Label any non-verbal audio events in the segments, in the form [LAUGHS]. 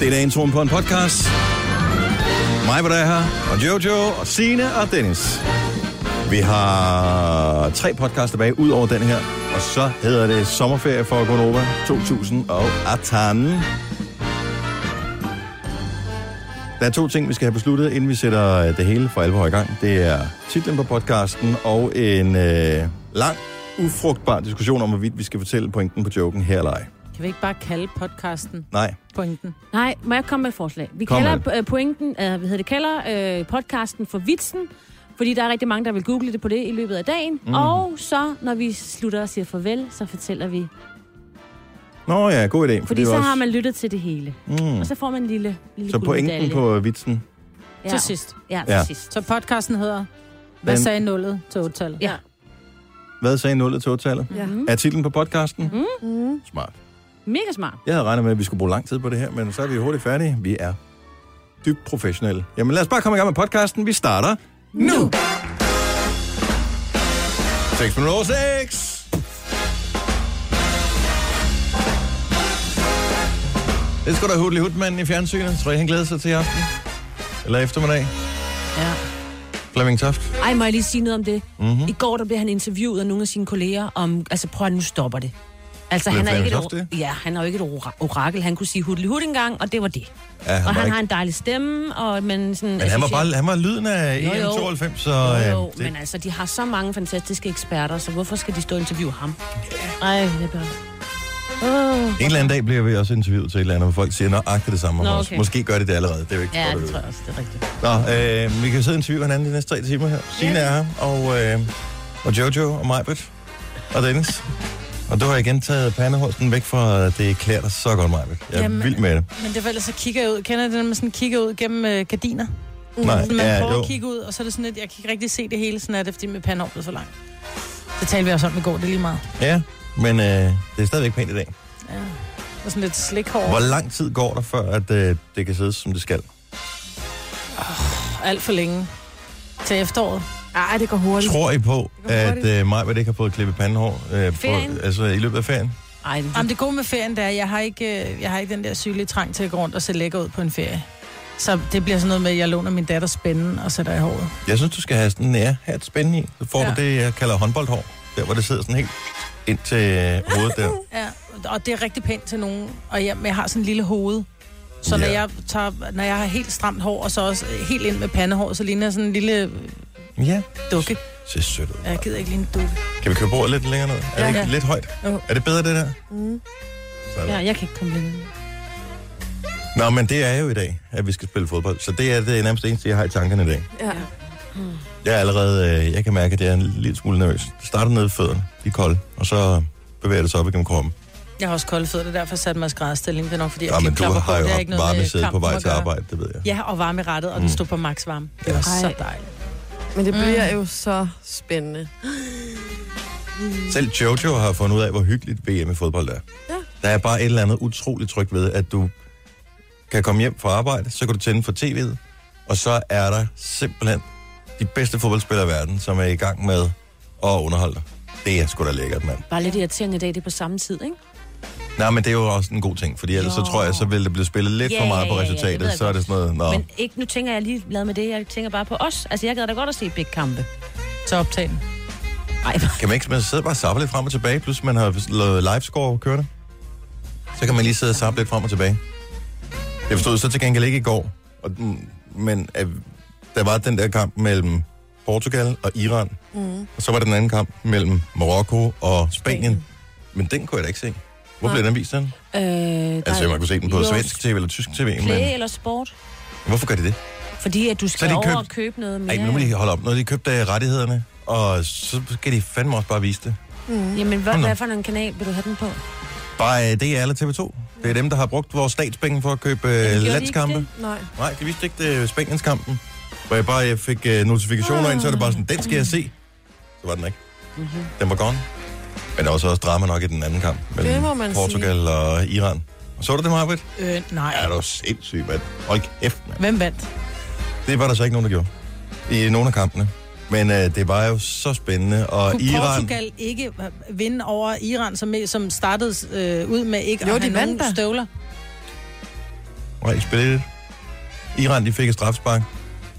Det er introen på en podcast. Mig, hvor der er her, og Jojo, og Sine og Dennis. Vi har tre podcasts tilbage, ud over den her. Og så hedder det Sommerferie for Gonova 2018. Der er to ting, vi skal have besluttet, inden vi sætter øh, det hele for alvor i gang. Det er titlen på podcasten og en øh, lang, ufrugtbar diskussion om, hvorvidt vi skal fortælle pointen på joken her eller ej. Kan vi ikke bare kalde podcasten Nej, pointen? Nej, må jeg komme med et forslag? Vi Kom kalder med øh, pointen, øh, hvad hedder det, kalder øh, podcasten for vitsen, fordi der er rigtig mange, der vil google det på det i løbet af dagen. Mm. Og så, når vi slutter og siger farvel, så fortæller vi. Nå ja, god idé. for Fordi det er så også- har man lyttet til det hele. Mm. Og så får man en lille, lille Så pointen guldmedalje. på vitsen. Ja, Til sidst. Ja, Ja. til sidst. Så podcasten hedder, hvad Den- sagde nullet til otallet? Ja. Hvad sagde 0 til 8-tallet? Ja. Mm. Er titlen på podcasten? Mm. Mm. Smart. Mega smart. Jeg havde regnet med, at vi skulle bruge lang tid på det her, men så er vi hurtigt færdige. Vi er dybt professionelle. Jamen lad os bare komme i gang med podcasten. Vi starter nu! 6 minutter over 6! Det skulle da Hudley Hudmanden i fjernsynet. Tror I, han glæder sig til i aften? Eller eftermiddag? Ja. Flemming Toft? Ej, må jeg lige sige noget om det? Mhm. I går der blev han interviewet af nogle af sine kolleger om, altså prøv at nu stopper det. Altså, Blev han er, Flemming ikke et, Toft det? or- ja, han er jo ikke et ora- orakel. Han kunne sige hudlig hud engang, og det var det. Ja, og var han ikke- har en dejlig stemme, og men sådan... altså, Men han var, bare, han var lyden af Jo, jo. EM92, så... Jo, øh, jo, det- det... men altså, de har så mange fantastiske eksperter, så hvorfor skal de stå og interviewe ham? Ej, det er bare... Oh. En eller anden dag bliver vi også interviewet til et eller andet, hvor folk siger nøjagtigt det samme om Nå, okay. os. okay. Måske gør de det allerede, det er jo ikke Ja, godt det tror at jeg også, det er rigtigt. vide. Nå, øh, vi kan sidde og interviewe hinanden de næste tre timer her. Signe er her, og, øh, og Jojo, og Majbet, og Dennis. og du har igen taget pandehorsten væk fra, øh, det klæder dig så godt, Majbet. Jeg er Jamen. Jamen. vild med det. Men det var ellers så kigger jeg ud. Kender I det, når man sådan kigger ud gennem øh, gardiner? Mm. Nej, Så man ja, prøver jo. at kigge ud, og så er det sådan lidt, jeg kan ikke rigtig se det hele, sådan er det, fordi mit pande blev så langt. Det talte vi også om i går, det er lige meget. Ja, men øh, det er stadigvæk pænt i dag. Ja. Og sådan lidt slikhår. Hvor lang tid går der, før at, øh, det kan sidde, som det skal? Alt for længe. Til efteråret. Ej, det går hurtigt. Tror I på, Det går at hurtigt. øh, Majbet ikke har fået klippet pandehår øh, på, Ferien? altså, i løbet af ferien? Ej, det, Jamen, det gode med ferien, det er, at jeg har ikke, øh, jeg har ikke den der sygelige trang til at gå rundt og se lækker ud på en ferie. Så det bliver sådan noget med, at jeg låner min datter spænden og sætter i håret. Jeg synes, du skal have sådan en ja, have et spænde i. Så får ja. Ja. du det, jeg kalder håndboldhår. Der, hvor det sidder sådan helt ind til øh, hovedet [LAUGHS] der. Ja, og det er rigtig pænt til nogen. Og jeg, men jeg har sådan en lille hoved. Så når, Ja. jeg tager, når jeg har helt stramt hår, og så også helt ind med pandehår, så ligner jeg sådan en lille Ja, dukke. det ser sødt ud. Jeg gider ikke lige en dukke. Kan vi køre bordet lidt længere ned? Er det Ja. ikke Ja. lidt højt? Jo. Er det bedre, det der? Mm. Sådan. Ja, jeg kan ikke komme videre. Nå, men det er jo i dag, at vi skal spille fodbold. Så det er det nærmest eneste, jeg har i tankerne i dag. Ja. Jeg er allerede, øh, jeg kan mærke, at jeg er en lille smule nervøs. Det starter nede i fødderne, de er kolde, og så bevæger det sig op igennem kroppen. Jeg har også kolde fødder, det er derfor jeg satte mig i skrædderstilling. Det er nok, fordi jeg Ja, men kan du klappe på. har jo Det er haft ikke noget med varme sæde på kampen vej at til gøre. arbejde, det ved jeg. Ja, og varme i rettet, og den Mm. stod på max varme. Det var Ja. så Ej. dejligt. Men det Mm. bliver jo så spændende. Selv Jojo har fundet ud af, hvor hyggeligt VM i fodbold er. Ja. Der er bare et eller andet utroligt trygt ved, at du kan komme hjem fra arbejde, så kan du tænde for tv'et, og så er der simpelthen de bedste fodboldspillere i verden, som er i gang med at underholde dig. Det er sgu da lækkert, mand. Bare lidt irriterende i dag, det er på samme tid, ikke? Nej, men det er jo også en god ting, fordi ellers så Jo. tror jeg, så ville det blive spillet lidt Ja, for meget ja, på ja, ja, det resultatet. ved jeg så er det sådan noget, nå, Men ikke, nu tænker jeg lige lavet med det, jeg tænker bare på os. Altså, jeg gad da godt at se begge kampe. Så optag den. Ej, kan man ikke man sidder bare og sapper lidt frem og tilbage, plus man har lavet livescore kørende. Så kan man lige sidde og sappe lidt frem og tilbage. Jeg forstod så til gengæld ikke i går, og, den- men at, der var den der kamp mellem Portugal og Iran, Mm. og så var der den anden kamp mellem Marokko og Spanien. Spanien. Men den kunne jeg da ikke se. Hvor blev Nej. den vist den? øh, der Altså, man kunne se den på Jo, svensk tv eller tysk tv, Play men eller sport. hvorfor gør de det? Fordi at du skal de over købt- og købe noget mere. Ej, men nu må de holde op. Når de købte rettighederne, og så skal de fandme også bare vise det. Mm. Jamen, hvad, Hold nu. hvad for en kanal vil du have den på? Bare øh, DR eller TV2. Det er dem, der har brugt vores statspenge for at købe øh, ikke landskampe. det? Nej. Nej, de vidste ikke det er Spanienskampen. Hvor jeg bare jeg fik øh, notifikationer ind, så er det bare sådan, den skal jeg se. Så var den ikke. Mhm. Mm-hmm. Den var gone. Men der var så også drama nok i den anden kamp. Mellem Det må man Portugal og Iran. Og så du det, Marbet? Øh, nej. Ja, det var sindssygt, mand. Hold kæft, mand. Hvem vandt? Det var der så ikke nogen, der gjorde. I nogle af kampene. Men øh, det var jo så spændende. Og Kunne Iran... Portugal ikke vinde over Iran, som, som startede øh, ud med ikke Jo, at de have vandt nogen da. støvler? var ikke spillet det. Iran, de fik et strafspark.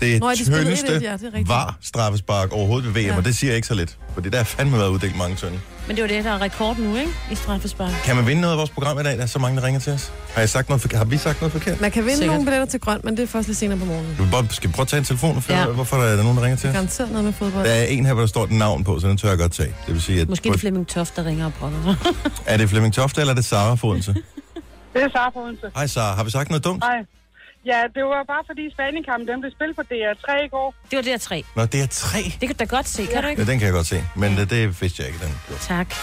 Det Nå, er de spillede tyndeste 1-1, ja, det er rigtigt. var straffespark overhovedet ved VM, ja. Ja. og det siger jeg ikke så lidt. Fordi der har fandme været uddelt mange tynde. Men det var det, der er rekord nu, ikke? I straffespark. Kan man vinde noget af vores program i dag? Der er så mange, der ringer til os. Har, jeg sagt noget forkert? har vi sagt noget forkert? Man kan vinde Sikkert. Sikkert. nogle billetter til grøn, men det er først lidt senere på morgenen. Du vil bare, skal prøve at tage en telefon og finde Ja. ja. hvorfor der er nogen, der ringer til os. Garanteret noget med fodbold. Der er en her, hvor der står et navn på, så den tør jeg godt tage. Det vil sige, at Måske det er Flemming Toft, der ringer og brokker sig. er det Flemming Tofte, eller er det Sara [LAUGHS] Fodense? Det er Sara Odense. Hej Sara, har vi sagt noget dumt? Hej. Ja, det var bare fordi Spanien-kampen, den blev spillet på DR3 i går. Det var der tre. Nå, det er tre. Det kan du da godt se, kan du ikke? Ja, den kan jeg godt se, men øh, det vidste jeg ikke, den gjorde. Tak.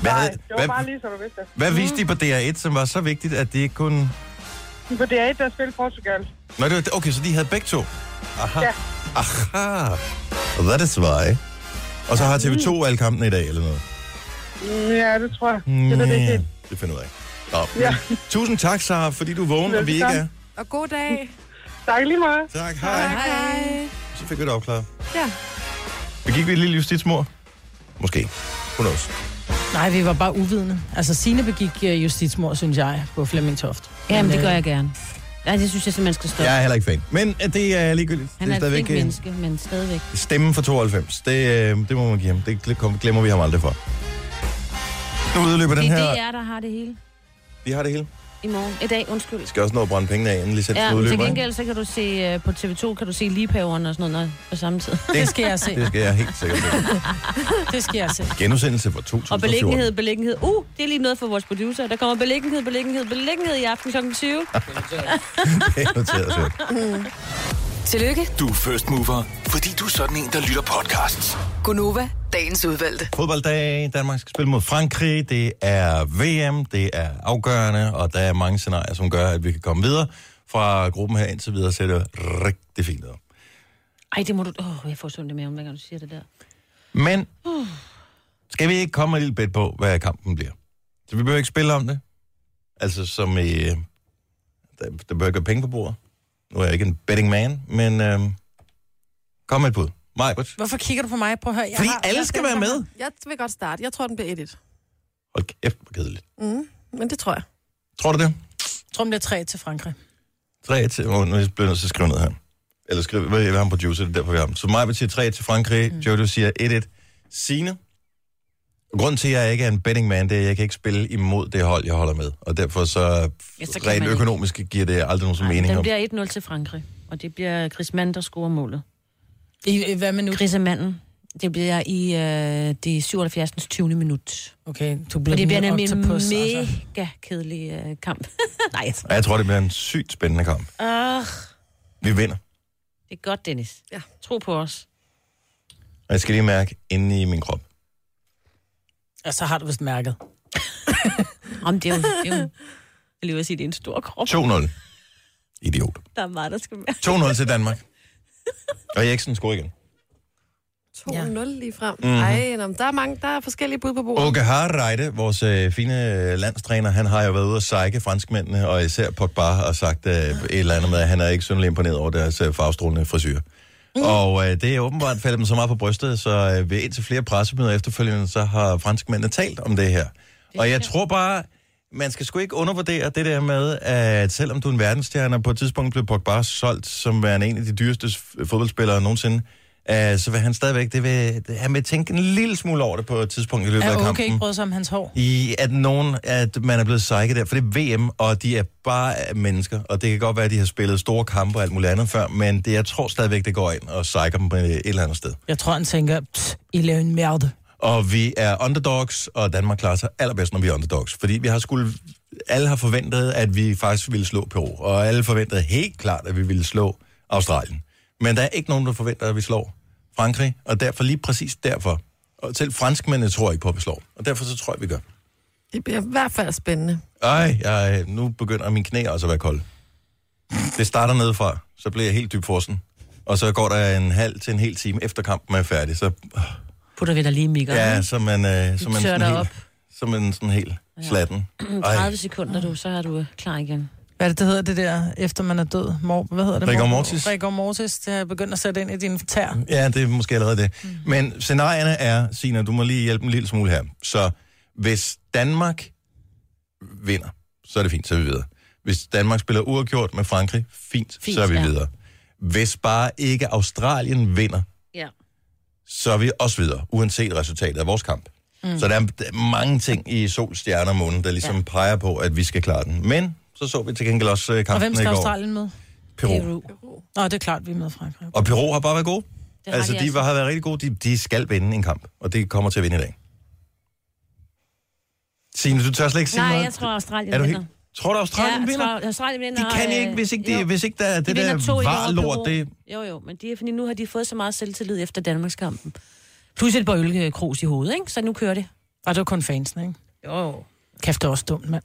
Hvad, Nej, havde- det var hvad, bare lige, så du vidste det. hvad viste de på DR1, som var så vigtigt, at de ikke kunne... På DR1, der spillede Portugal. Nå, det var, okay, så de havde begge to. Aha. Ja. Aha. Og that is why. Og så har TV2 alle kampene i dag, eller noget? Mm, Ja, det tror jeg. Det Mm. er det, det, er- det finder jeg ud af. Nå, men, Ja. Tusind tak, Sara, fordi du vågnede, og vi ikke er. Velbekomme. Og god dag. Tak lige meget. Tak, hej. Hej. Så fik vi det opklaret. Ja. Begik vi et lille justitsmord? Måske. Who knows? Nej, vi var bare uvidende. Altså, Signe begik øh, justitsmord, synes jeg, på Flemming Toft. Jamen, det øh, gør jeg gerne. Nej, det synes jeg simpelthen skal stoppe. Jeg er heller ikke fan. Men øh, det er ligegyldigt. Han det er, er et fint øh, menneske, men stadigvæk. Stemmen for 92, det, øh, det må man give ham. Det gl- glemmer vi ham aldrig for. Nu udløber den Det er her. DR, der har det hele Vi har det hele. i morgen. I dag, undskyld. Vi skal også nå at brænde pengene af, inden licensen Ja, men til udløber. ikke? gengæld så kan du se øh, på TV2, kan du se ligehaverne og sådan noget når- på samme tid. Det skal jeg se. Det skal [LAUGHS] jeg helt sikkert med. Det skal jeg se. Genudsendelse fra 2014. Og beliggenhed, beliggenhed. Uh, det er lige noget for vores producer. Der kommer beliggenhed, beliggenhed, beliggenhed i aften kl. [LAUGHS] 20. Det er noteret, så. Tillykke, Du er first mover, fordi du er sådan en, der lytter podcasts. Gunova, dagens udvalgte. Fodbolddag, Danmark skal spille mod Frankrig, det er VM, det er afgørende, og der er mange scenarier, som gør, at vi kan komme videre. Fra gruppen her indtil videre ser det rigtig fint ud. Ej, det må du... Åh, oh, jeg får sundt det med, hver gang du siger det der. Men skal vi ikke komme med et lille bet på, hvad kampen bliver? Så vi behøver ikke spille om det. Altså som i... øh, Der, der behøver ikke være penge på bordet. Nu er jeg ikke en betting man, men øh, kom med et bud. Majbert. Hvorfor kigger du på mig? Prøv at høre. Jeg Fordi har- alle jeg- skal være med. Jeg vil godt starte. Jeg tror, den bliver 1-1. Hold kæft, hvor kedeligt. Mm. Men det tror jeg. Tror du det? Jeg tror, den bliver 3 til Frankrig. 3 til... Oh, nu bliver jeg nødt til at skrive ned her. Eller skrive... Hvad er han producer? Det er derfor, vi har ham. Så Majbert siger 3 til Frankrig. Mm. Jojo siger 1-1. Signe. Og Grunden til, at jeg ikke er en betting man, det er, at jeg kan ikke spille imod det hold, jeg holder med. Og derfor så, Ja, så rent kan man ikke. økonomisk giver det aldrig nogen som Ej, mening. den om. bliver 1-0 til Frankrig. Og det bliver Chris Mann, der scorer målet. I, øh, i hvad minut? Chris er manden. Det bliver i øh, det 77. 20. minut. Okay, du bliver, Og det bliver den nemlig en octopus, altså. mega kedelig øh, kamp. [LAUGHS] Nej, jeg tror- Og jeg tror, det bliver en sygt spændende kamp. Ah, Vi vinder. det er godt, Dennis. Ja. Tro på os. Og jeg skal lige mærke inde i min krop. Ja, så har du vist mærket. [LAUGHS] Om det er jo... Det er jo jeg vil lige ved at sige, det er en stor krop, 2-0. Idiot. der er meget, der skal være. 2-0 til Danmark. Og Eriksen scorer igen. 2-0 ja. lige frem. Mhm. Mm-hmm. Ej, nå, men der er mange, der er forskellige bud på bordet. Åke Harreide, vores øh, fine øh, landstræner, han har jo været ude og sejke franskmændene, og især Pogba, og sagt øh, et eller andet med, at han er ikke synderlig imponeret over deres øh, farvestrålende frisyr. Mm. Og øh, det er åbenbart faldet dem så meget på brystet, så øh, ved indtil flere pressemøder efterfølgende, så har franskmændene talt om det her. Og jeg tror bare, man skal sgu ikke undervurdere det der med, at selvom du er en verdensstjerne, og på et tidspunkt blev Pogba solgt som værende en af de dyreste s- fodboldspillere nogensinde, øh, så vil han stadigvæk, det vil, det- han vil tænke en lille smule over det på et tidspunkt i løbet af Er okay kampen ikke brød sig om hans hår? i, at nogen, at man er blevet psyket der, for det er VM, og de er bare mennesker, og det kan godt være, at de har spillet store kampe og alt muligt andet før, men det, jeg tror stadigvæk, det går ind og psyker dem på et eller andet sted. Jeg tror, han tænker, "Pst, I laver en merde. Og vi er underdogs, og Danmark klarer sig allerbedst, når vi er underdogs, fordi vi har skulle, alle har forventet, at vi faktisk ville slå Peru, og alle forventede helt klart, at vi ville slå Australien. Men der er ikke nogen, der forventer, at vi slår Frankrig, og derfor lige præcis derfor, og selv franskmændene tror ikke på, at vi slår, og derfor så tror jeg, vi gør. Det bliver i hvert fald spændende. Ej, jeg, nu begynder mine knæ også at være kolde. Det starter nedefra, så bliver jeg helt dyb forsen. Og så går der en halv til en hel time efter kampen er færdig, så, Putter vi dig lige, Mika. ja, så er man, øh, så er man tør sådan dig helt, op. så er man sådan helt slatten. Ej, 30 Mm, sekunder, du, så er du øh, klar igen. Hvad er det, det hedder det der, efter man er død? Mor, hvad hedder det? Rigor Mor- mortis. Rigor mortis, det har jeg begyndt at sætte ind i din tær. ja, det er måske allerede det. Men scenarierne er, Sina, du må lige hjælpe en lille smule her. Så hvis Danmark vinder, så er det fint, så er vi videre. Hvis Danmark spiller uafgjort med Frankrig, fint, fint Fint, så er vi ja. videre. Hvis bare ikke Australien vinder, Ja. så er vi også videre, uanset resultatet af vores kamp. Mm. Så der er, der er mange ting i sol, stjerner og månen, der ligesom ja. peger på, at vi skal klare den. Men så så vi til gengæld også øh, Og kampen hvem i skal går. Australien med? Peru. Nå, det er klart, vi er med Frankrig. Og Peru har bare været gode. Det har altså, de de, altså. har været rigtig gode. De, de skal vinde en kamp, og det kommer til at vinde i dag. Signe, du tør slet ikke sige Nej, noget. jeg tror, Australien er du vinder. helt... Tror du, Australien ja, jeg vinder? tror, Australien vinder. De kan ikke, øh, hvis ikke, de, jo. hvis ikke der er det vinder to der i går, varlort. Peru. Det, Jo, jo, men de, er- fordi nu har de fået så meget selvtillid efter Danmarkskampen. Plus et bølgekrus i hovedet, ikke? Så nu kører det. Og det var kun fansen, ikke? Jo. Kæft, det er også dumt, mand.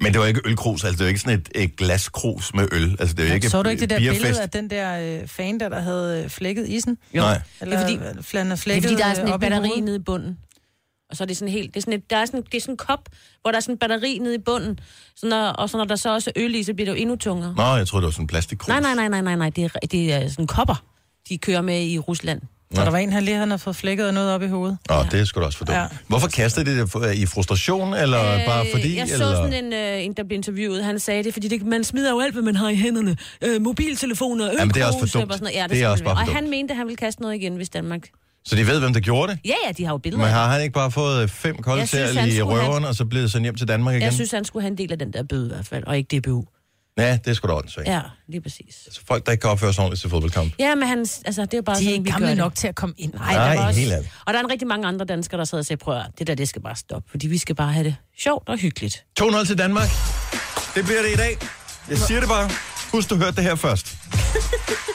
men det var ikke ølkrus, altså det var ikke sådan et, et glaskrus med øl. Altså det var ikke Så du ikke det der bierfest. billede af den der øh, fan, der, der havde øh, flækket isen? Nej. Eller Det er fordi, flandet Det er flækket fordi, der er sådan øh, et op i batteri hovedet? nede i bunden. Og så er det sådan helt... Det er sådan et, der er sådan, det er sådan en kop, hvor der er sådan et batteri nede i bunden. Så når, og så når der så også er øl i, så bliver det jo endnu tungere. Nå, jeg tror det var sådan en plastikkrus. Nej, nej, nej, nej, nej, nej. Det er, det er sådan kopper, de kører med i Rusland. Og der var en her lige, han har fået flækket noget op i hovedet. Åh, det er sgu da også for dumt. Ja. Hvorfor kastede det det For- i frustration, eller øh, bare fordi? jeg så eller? sådan en, øh, en, der blev interviewet. Han sagde det, fordi det, man smider jo alt, hvad man har i hænderne. Øh, mobiltelefoner, øl, Jamen, det er også for dumt. Og sådan noget. Ja, det, Det er skal også man bare være. for Og han dumt. mente, at han ville kaste noget igen, hvis Danmark... Så de ved, hvem der gjorde det? Ja, ja, de har jo billeder. Men af det. har han ikke bare fået øh, fem kolde Jeg synes, tæer han i skulle have- røveren, og så blevet sendt hjem til Danmark igen? Jeg synes, han skulle have en del af den der bøde i hvert fald, og ikke DBU. Ja, det er sgu da åndssvagt. Ja. Ja, lige præcis. Altså, folk, der ikke kan opføre sig ordentligt til fodboldkamp. Ja, men han, altså, det er bare De er sådan, ikke vi gør gamle det. nok til at komme ind. Ej, der Nej, var også... helt ærligt. Og der er en rigtig mange andre danskere, der sad og sagde, prøv at høre, det der, det skal bare stoppe, fordi vi skal bare have det sjovt og hyggeligt. 2-0 til Danmark. Det bliver det i dag. Jeg siger det bare. Husk, du hørte det her først.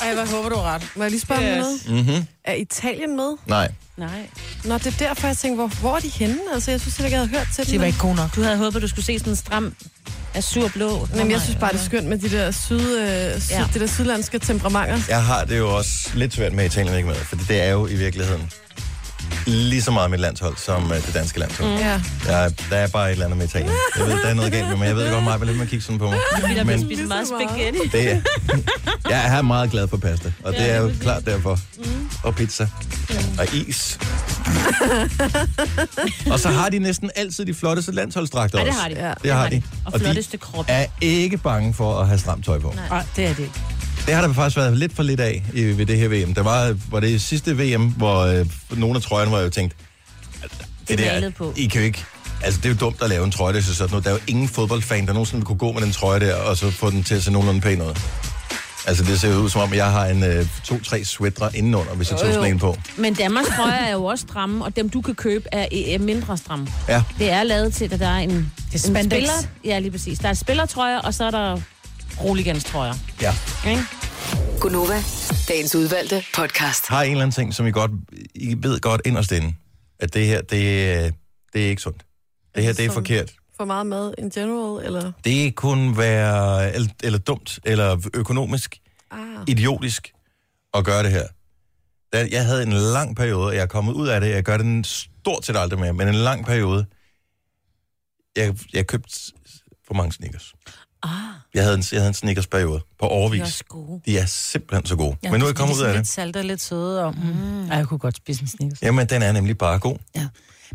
Ej, hvad håber du har ret. Må jeg lige spørge yes. om noget? Mm-hmm. Er Italien med? Mhm. Nej. Nej. Nå, det er derfor, jeg tænker, hvor, hvor er de henne? Altså, jeg synes slet ikke, jeg havde hørt til De dem. var ikke gode nok. Du havde håbet, du skulle se sådan en stram azurblå. Men jeg synes bare, det er skønt med de der syd, øh, syd, Ja. ja. det der sydlandske temperamenter. Jeg har det jo også lidt svært med, at Italien ikke er med, for det er jo i virkeligheden lige så meget mit landshold som øh, det danske landshold. Mm. Ja. Jeg, der er bare et eller andet med Italien. Jeg ved, der er noget galt med mig. Jeg ved godt, meget lidt man kigge sådan på mig. Fordi der bliver Men- spist meget spaghetti. Det er. Jeg er meget glad for pasta, og det er jo klart derfor. Mm. Og pizza. Og is. [LAUGHS] og så har de næsten altid de flotteste landsholdsdragter Ja, også. det har de. Ja, Det har de. Og, Og de- flotteste krop. Er ikke bange for at have stramt tøj på. Nej, det er det ikke. Det har der faktisk været lidt for lidt af øh, ved det her VM. Der var, var det sidste VM, hvor øh, nogle af trøjerne var jo tænkt, det er der, malet på. I kan jo ikke, altså det er jo dumt at lave en trøje, der ser sådan noget. Der er jo ingen fodboldfan, der nogensinde vil kunne gå med den trøje der, og så få den til at se nogenlunde pæn ud. Altså det ser jo ud som om, jeg har en øh, to-tre sweatre indenunder, hvis jeg tog sådan en på. Men Danmarks trøjer er jo også stramme, og dem du kan købe er, er mindre stramme. Ja, Det er lavet til, at der er en, er en spandex. spiller. Ja, lige præcis. Der er spillertrøjer, og så er der roliganstrøjer. ja. Ikke? Gunova, dagens udvalgte podcast. Har en eller anden ting, som I, godt, I ved godt inderst inde, at det her, det, øh, det er ikke sundt. Det her, det er Som- forkert. For meget mad in general, eller... Det kunne være eller, eller dumt, eller økonomisk, Ah. idiotisk at gøre det her. Da Jeg havde en lang periode, og jeg er kommet ud af det. Jeg gør det en- stort set aldrig mere, men en lang periode. Jeg, jeg købte for mange sneakers. Ah, Jeg havde en, jeg havde en sneakersperiode på de er overvis. også gode. De er simpelthen så gode. Ja, men nu er jeg kommet ud af ligesom Lidt det. salt og lidt søde og... Mm. Ej, jeg kunne godt spise en Snickers. Jamen, den er nemlig bare god. Ja.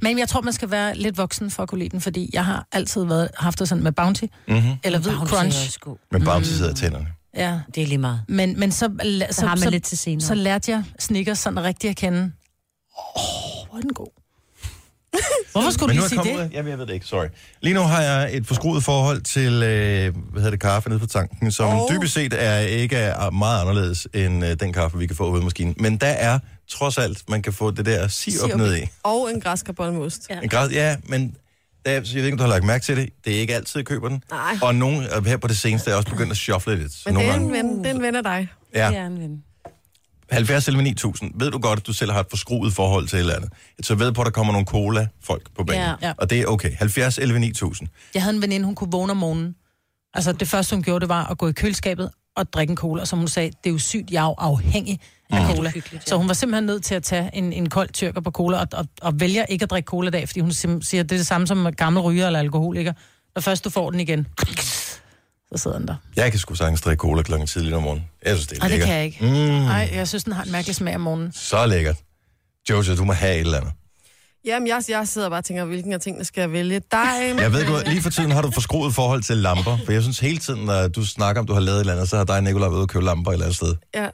Men jeg tror, man skal være lidt voksen for at kunne lide den, fordi jeg har altid været, haft det sådan med Bounty, Mm-hmm. eller Hvid Bounty er Crunch. Mm. også god. Men Bamse sidder i tænderne. Ja. Det er lige meget. Men, men så, la- Så har man lidt til senere. så lærte jeg Snickers sådan rigtig at kende. Åh, oh, hvor er den god. Hvorfor skulle Men du nu er lige jeg kommet sige ud det? af... Jamen, jeg ved det ikke, sorry. Lige nu har jeg et forskruet forhold til, øh, hvad hedder det, kaffe nede på tanken, som oh. dybest set er ikke er meget anderledes end øh, den kaffe, vi kan få ude i maskinen. Men der er trods alt, man kan få det der sirup Sirup. ned i. Og en græskarbolle med ost. Ja. En grad, ja, men der, jeg ved ikke, om du har lagt mærke til det. Det er ikke altid, jeg køber den. Nej. Og nogen og her på det seneste er også begyndt at shuffle lidt. Så Men nogle det er, gange, en ven, det er en ven af dig. ja. Det er en ven. 70 eller 9000, ved du godt, at du selv har et forskruet forhold til et eller andet. Så ved på, at der kommer nogle cola-folk på banen. Ja. Ja. Og det er okay. 70 11 9000. Jeg havde en veninde, hun kunne vågne om morgenen. Altså, det første, hun gjorde, det var at gå i køleskabet og drikke en cola. Som hun sagde, det er jo sygt, jeg er jo afhængig af Mm. cola. hyggeligt, ja. Så hun var simpelthen nødt til at tage en, en kold tyrker på cola, og, og, og vælger ikke at drikke cola i dag, fordi hun sim- siger, det er det samme som gammel ryger eller alkoholiker. Når først du får den igen, så sidder den der. Jeg kan sgu sagtens drikke cola klokken tidligt om morgenen. Jeg synes, det er Nej, det lækkert. Mm. kan jeg ikke. Nej, jeg synes, den har en mærkelig smag om morgenen. Så lækkert. Jojo, du må have et eller andet. Jamen, jeg, jeg sidder bare og tænker, hvilken af tingene skal jeg vælge? Dig, Jeg ved godt, lige for tiden har du forskruet forhold til lamper, for jeg synes hele tiden, når du snakker om, du har lavet et eller andet, så har dig og Nicolaj været ude og købe lamper et eller andet sted. Ja.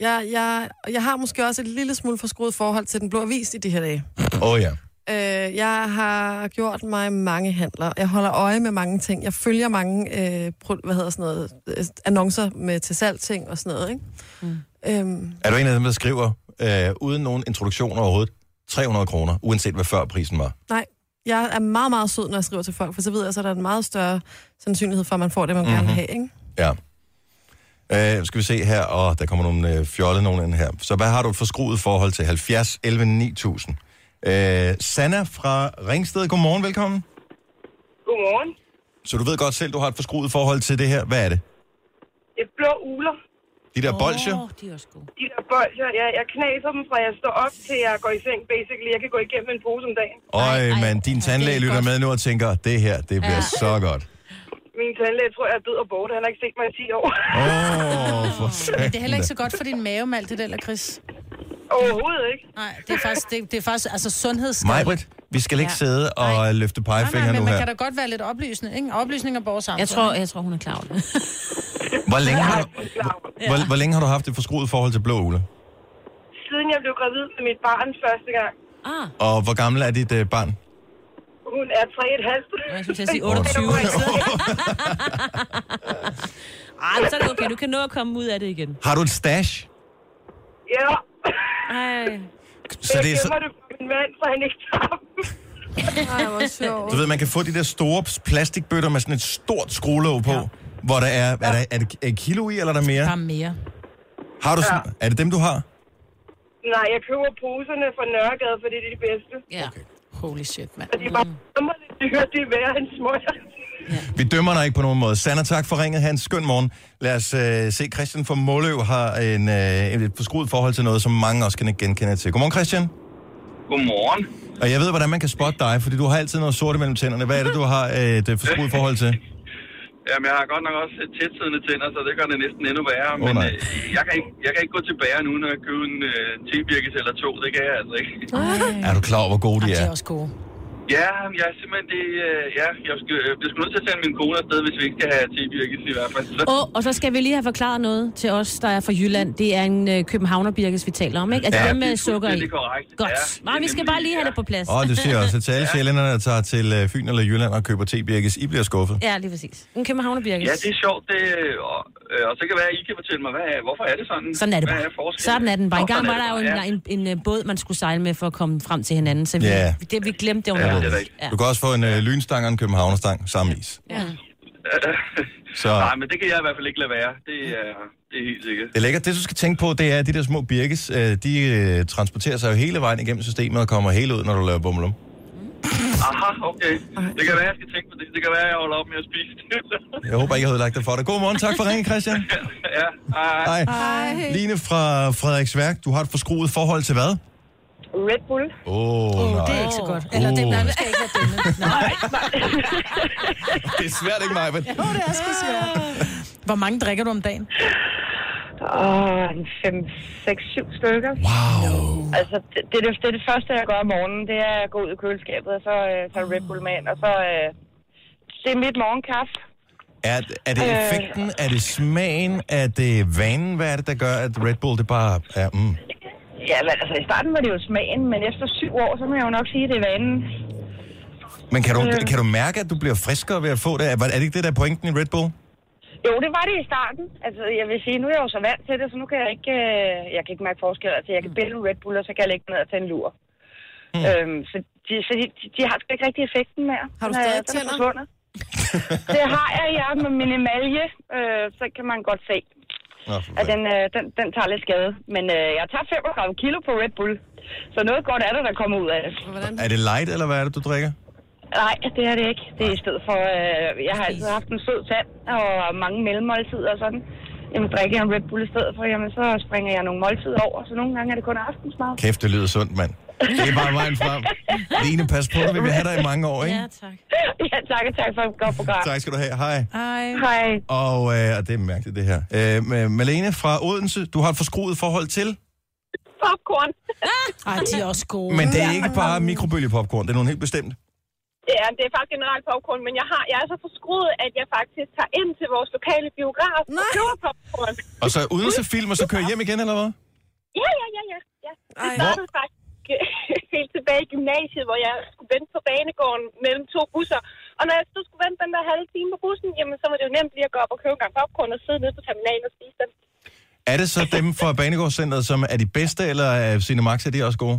Jeg, jeg, jeg har måske også et lille smule forskruet forhold til den blå avis i de her dage. Åh oh, ja. Øh, jeg har gjort mig mange handler. Jeg holder øje med mange ting. Jeg følger mange øh, pro, hvad hedder sådan noget, øh, annoncer med til salg ting og sådan noget. Ikke? Mm. Øhm, Er du en af dem, der skriver, øh, uden nogen introduktion overhovedet, 300 kroner, uanset hvad før prisen var? nej, jeg er meget, meget sød, når jeg skriver til folk, for så ved jeg, så er der en meget større sandsynlighed for, at man får det, man mm-hmm. Mhm. gerne vil have. Ikke? Ja. Øh, skal vi se her, og der kommer nogle øh, fjolle nogen ind her. Så hvad har du et forskruet forhold til? 70, 11, 9000. Øh, Sanna fra Ringsted, godmorgen, velkommen. Godmorgen. Så du ved godt selv, du har et forskruet forhold til det her. Hvad er det? Et blå uler. De der oh. bolsjer? Åh, de er også gode. De der bolcher, jeg, jeg knaser dem fra jeg står op til jeg går i seng, basically. Jeg kan gå igennem en pose om dagen. Øj, ej, men din ej, det tandlæge er lytter godt. med nu og tænker, det her, det bliver så godt. Min tandlæge tror jeg er død og borte. Han har ikke set mig i 10 år. Åh, oh, for Men det er heller ikke satan. så godt for din mave med alt det der, eller Chris? Overhovedet ikke. Nej, det er faktisk, det, det er faktisk altså sundhedsskadeligt. Majbrit, vi skal ikke sidde og løfte Nej, nej, pegefingre men nu man her. kan da godt være lidt oplysende, ikke? Oplysninger borger sammen. Jeg tror, jeg tror, hun er klar [LAUGHS] over det. Hvor længe har du, Klar. hvor, hvor længe har du haft et forskruet forhold til blå uler? Siden jeg blev gravid med mit barn første gang. Ah, Og hvor gammel er dit øh, barn? Hun er [LAUGHS] 3,5. jeg synes, jeg siger 28. [LAUGHS] Ej, men så er det okay. Du kan nå at komme ud af det igen. Har du et stash? Ja. Ej. Så det er jeg så, gemmer det for min mand, så han ikke tager dem. Ej, hvor sjovt. du ved, man kan få de der store plastikbøtter med sådan et stort skruelåg på, hvor der er, er, der, er det et kilo i, eller er der Der er mere? mere. Har du sådan, er det dem, du har? Nej, jeg køber poserne fra Nørregade, for det er de bedste. Ja. Mm. Holy shit, mand. Og de var hammerligt dyre, det er værre end smøger. Vi dømmer dig ikke på nogen måde. Sander, tak for ringet. Hans, skøn morgen. Lad os øh, se, Christian fra Måløv har en, øh, et forskruet forhold til noget, som mange også kan genkende til. Godmorgen, Christian. Godmorgen. Og jeg ved, hvordan man kan spotte dig, fordi du har altid noget sort mellem tænderne. Hvad er det, du har øh, et øh, forskruet forhold til? Jamen, jeg har godt nok også tætsiddende tænder, så det gør det næsten endnu værre. Åh, men nej. øh, jeg, kan ikke, jeg kan ikke gå til bageren uden at købe en øh, tebirkes eller to. Det kan jeg altså ikke. Er du klar over, hvor gode de De er er? også gode. Ja, jeg er simpelthen det... Øh, ja, jeg skal, øh, jeg skal nødt til at sende min kone afsted, hvis vi ikke skal have tebirkes i hvert fald. Så, Og, og så skal vi lige have forklaret noget til os, der er fra Jylland. Det er en øh, københavnerbirkes, vi taler om, ikke? Altså Ja, ja, dem det med er sukker i. fuldstændig korrekt. Ja, Godt. det Nej, er vi skal nemlig- bare lige have ja. det på plads. Og det siger også til alle sjælænderne, der tager til øh, Fyn eller Jylland og køber tebirkes. I bliver skuffet. [LAUGHS] Ja, lige præcis. En københavnerbirkes. Ja, det er sjovt. Det, og, øh, og så kan være, at I kan fortælle mig, hvad, er- hvorfor er det sådan? Sådan er det Hvad bare. forskellen? Sådan er den bare. Nå, Engang sådan var der jo er en, det ja. [LAUGHS] bare. en, en, øh, båd, man skulle sejle med for at komme frem til hinanden, så vi, Ja. det, vi glemte det Ja, det er undervejs. rigtigt. Ja. Du kan også få en øh, lynstang og en københavnerstang sammen is. Så- Så... Nej, men det kan jeg i hvert fald ikke lade være. Det er, det er helt sikkert. Det er lækkert. Det, du skal tænke på, det er, at de der små birkes, øh, de øh, transporterer sig jo hele vejen igennem systemet og kommer hele ud, når du laver bummelum. Aha, okay. Det kan være, jeg skal tænke på det. Det kan være, jeg holder op med at spise det. Jeg håber ikke, jeg havde lagt dig for dig. God morgen. Tak for ringen, [LAUGHS] Christian. ja, hej. Hej. Hej. Line fra Frederiksværk, du har et forskruet forhold til hvad? Red Bull. Åh, oh, Oh, det er nej. ikke så godt. Eller dem, Uh. nej, nu skal jeg ikke være denne. Nej, [LAUGHS] Det er svært, ikke mig? Men... oh, det er sgu svært. Hvor mange drikker du om dagen? Åh, en 5, 6, 7 stykker. Wow. Altså, det, det, er det, det er det første, jeg gør om morgenen. Det er at gå ud i køleskabet, og så øh, tager Red Bull med ind, og så... Øh, det er mit morgenkaffe. Er, er det effekten? Er det smagen? Er det vanen? Hvad er det, der gør, at Red Bull det bare er... Mm. Ja, men altså, i starten var det jo smagen, men efter syv år, så må jeg jo nok sige, at det er vanen. Men kan du, kan du mærke, at du bliver friskere ved at få det? Er, er det ikke det, der er pointen i Red Bull? Jo, det var det i starten. Altså, jeg vil sige, nu er jeg jo så vant til det, så nu kan jeg ikke, øh, jeg kan ikke mærke forskel. Altså, jeg kan bælge en Red Bull, og så kan jeg lægge den ned og tage en lur. Mm. Øhm, så de, så de, de- de har sgu ikke rigtig effekten mere. Har du Den er- stadig den er tænder? [LAUGHS] forsvundet. det har jeg, ja, med min emalje, øh, så kan man godt se, Nå, for at fanden. den, øh, den, den tager lidt skade. Men øh, jeg tager 35 kilo på Red Bull, så noget godt er der, der kommer ud af det. Hvordan? er det light, eller hvad er det, du drikker? Nej, det er det ikke. Det er i stedet for, øh, jeg har altid haft en sød tand og mange mellemmåltider og sådan. Jamen, drikker jeg en Red Bull i stedet for, jamen, så springer jeg nogle måltider over, så nogle gange er det kun aftensmad. Kæft, det lyder sundt, mand. Det er bare vejen frem. Line, pas på dig. Vi vil have dig i mange år, ikke? Ja, tak. ja, tak og tak for et godt program. Tak skal du have. Hej. Ej, Hej. Og øh, og det er mærkeligt, det her. Øh, Ma- Malene fra Odense, du har et forskruet forhold til? popcorn. Ej, de er også gode. Men det er ikke bare mikrobølgepopcorn, det er nogle helt bestemt. Ja, det er faktisk generelt popcorn, men jeg, har, jeg er så forskruet, at jeg faktisk tager ind til vores lokale biograf og Nej. køber popcorn. Og så uden så film, og så kører hjem igen, eller hvad? Ja, ja, ja, ja. ja. Det Ej. startede faktisk øh, [LAUGHS] helt tilbage i gymnasiet, hvor jeg skulle vente på banegården mellem to busser. Og når jeg så skulle vente den der halve time på bussen, jamen så var det jo nemt lige at gå op og købe en gang popcorn og sidde nede på terminalen og spise den. Er det så dem fra Banegårdscenteret, som er de bedste, eller er Cinemax, er de også gode?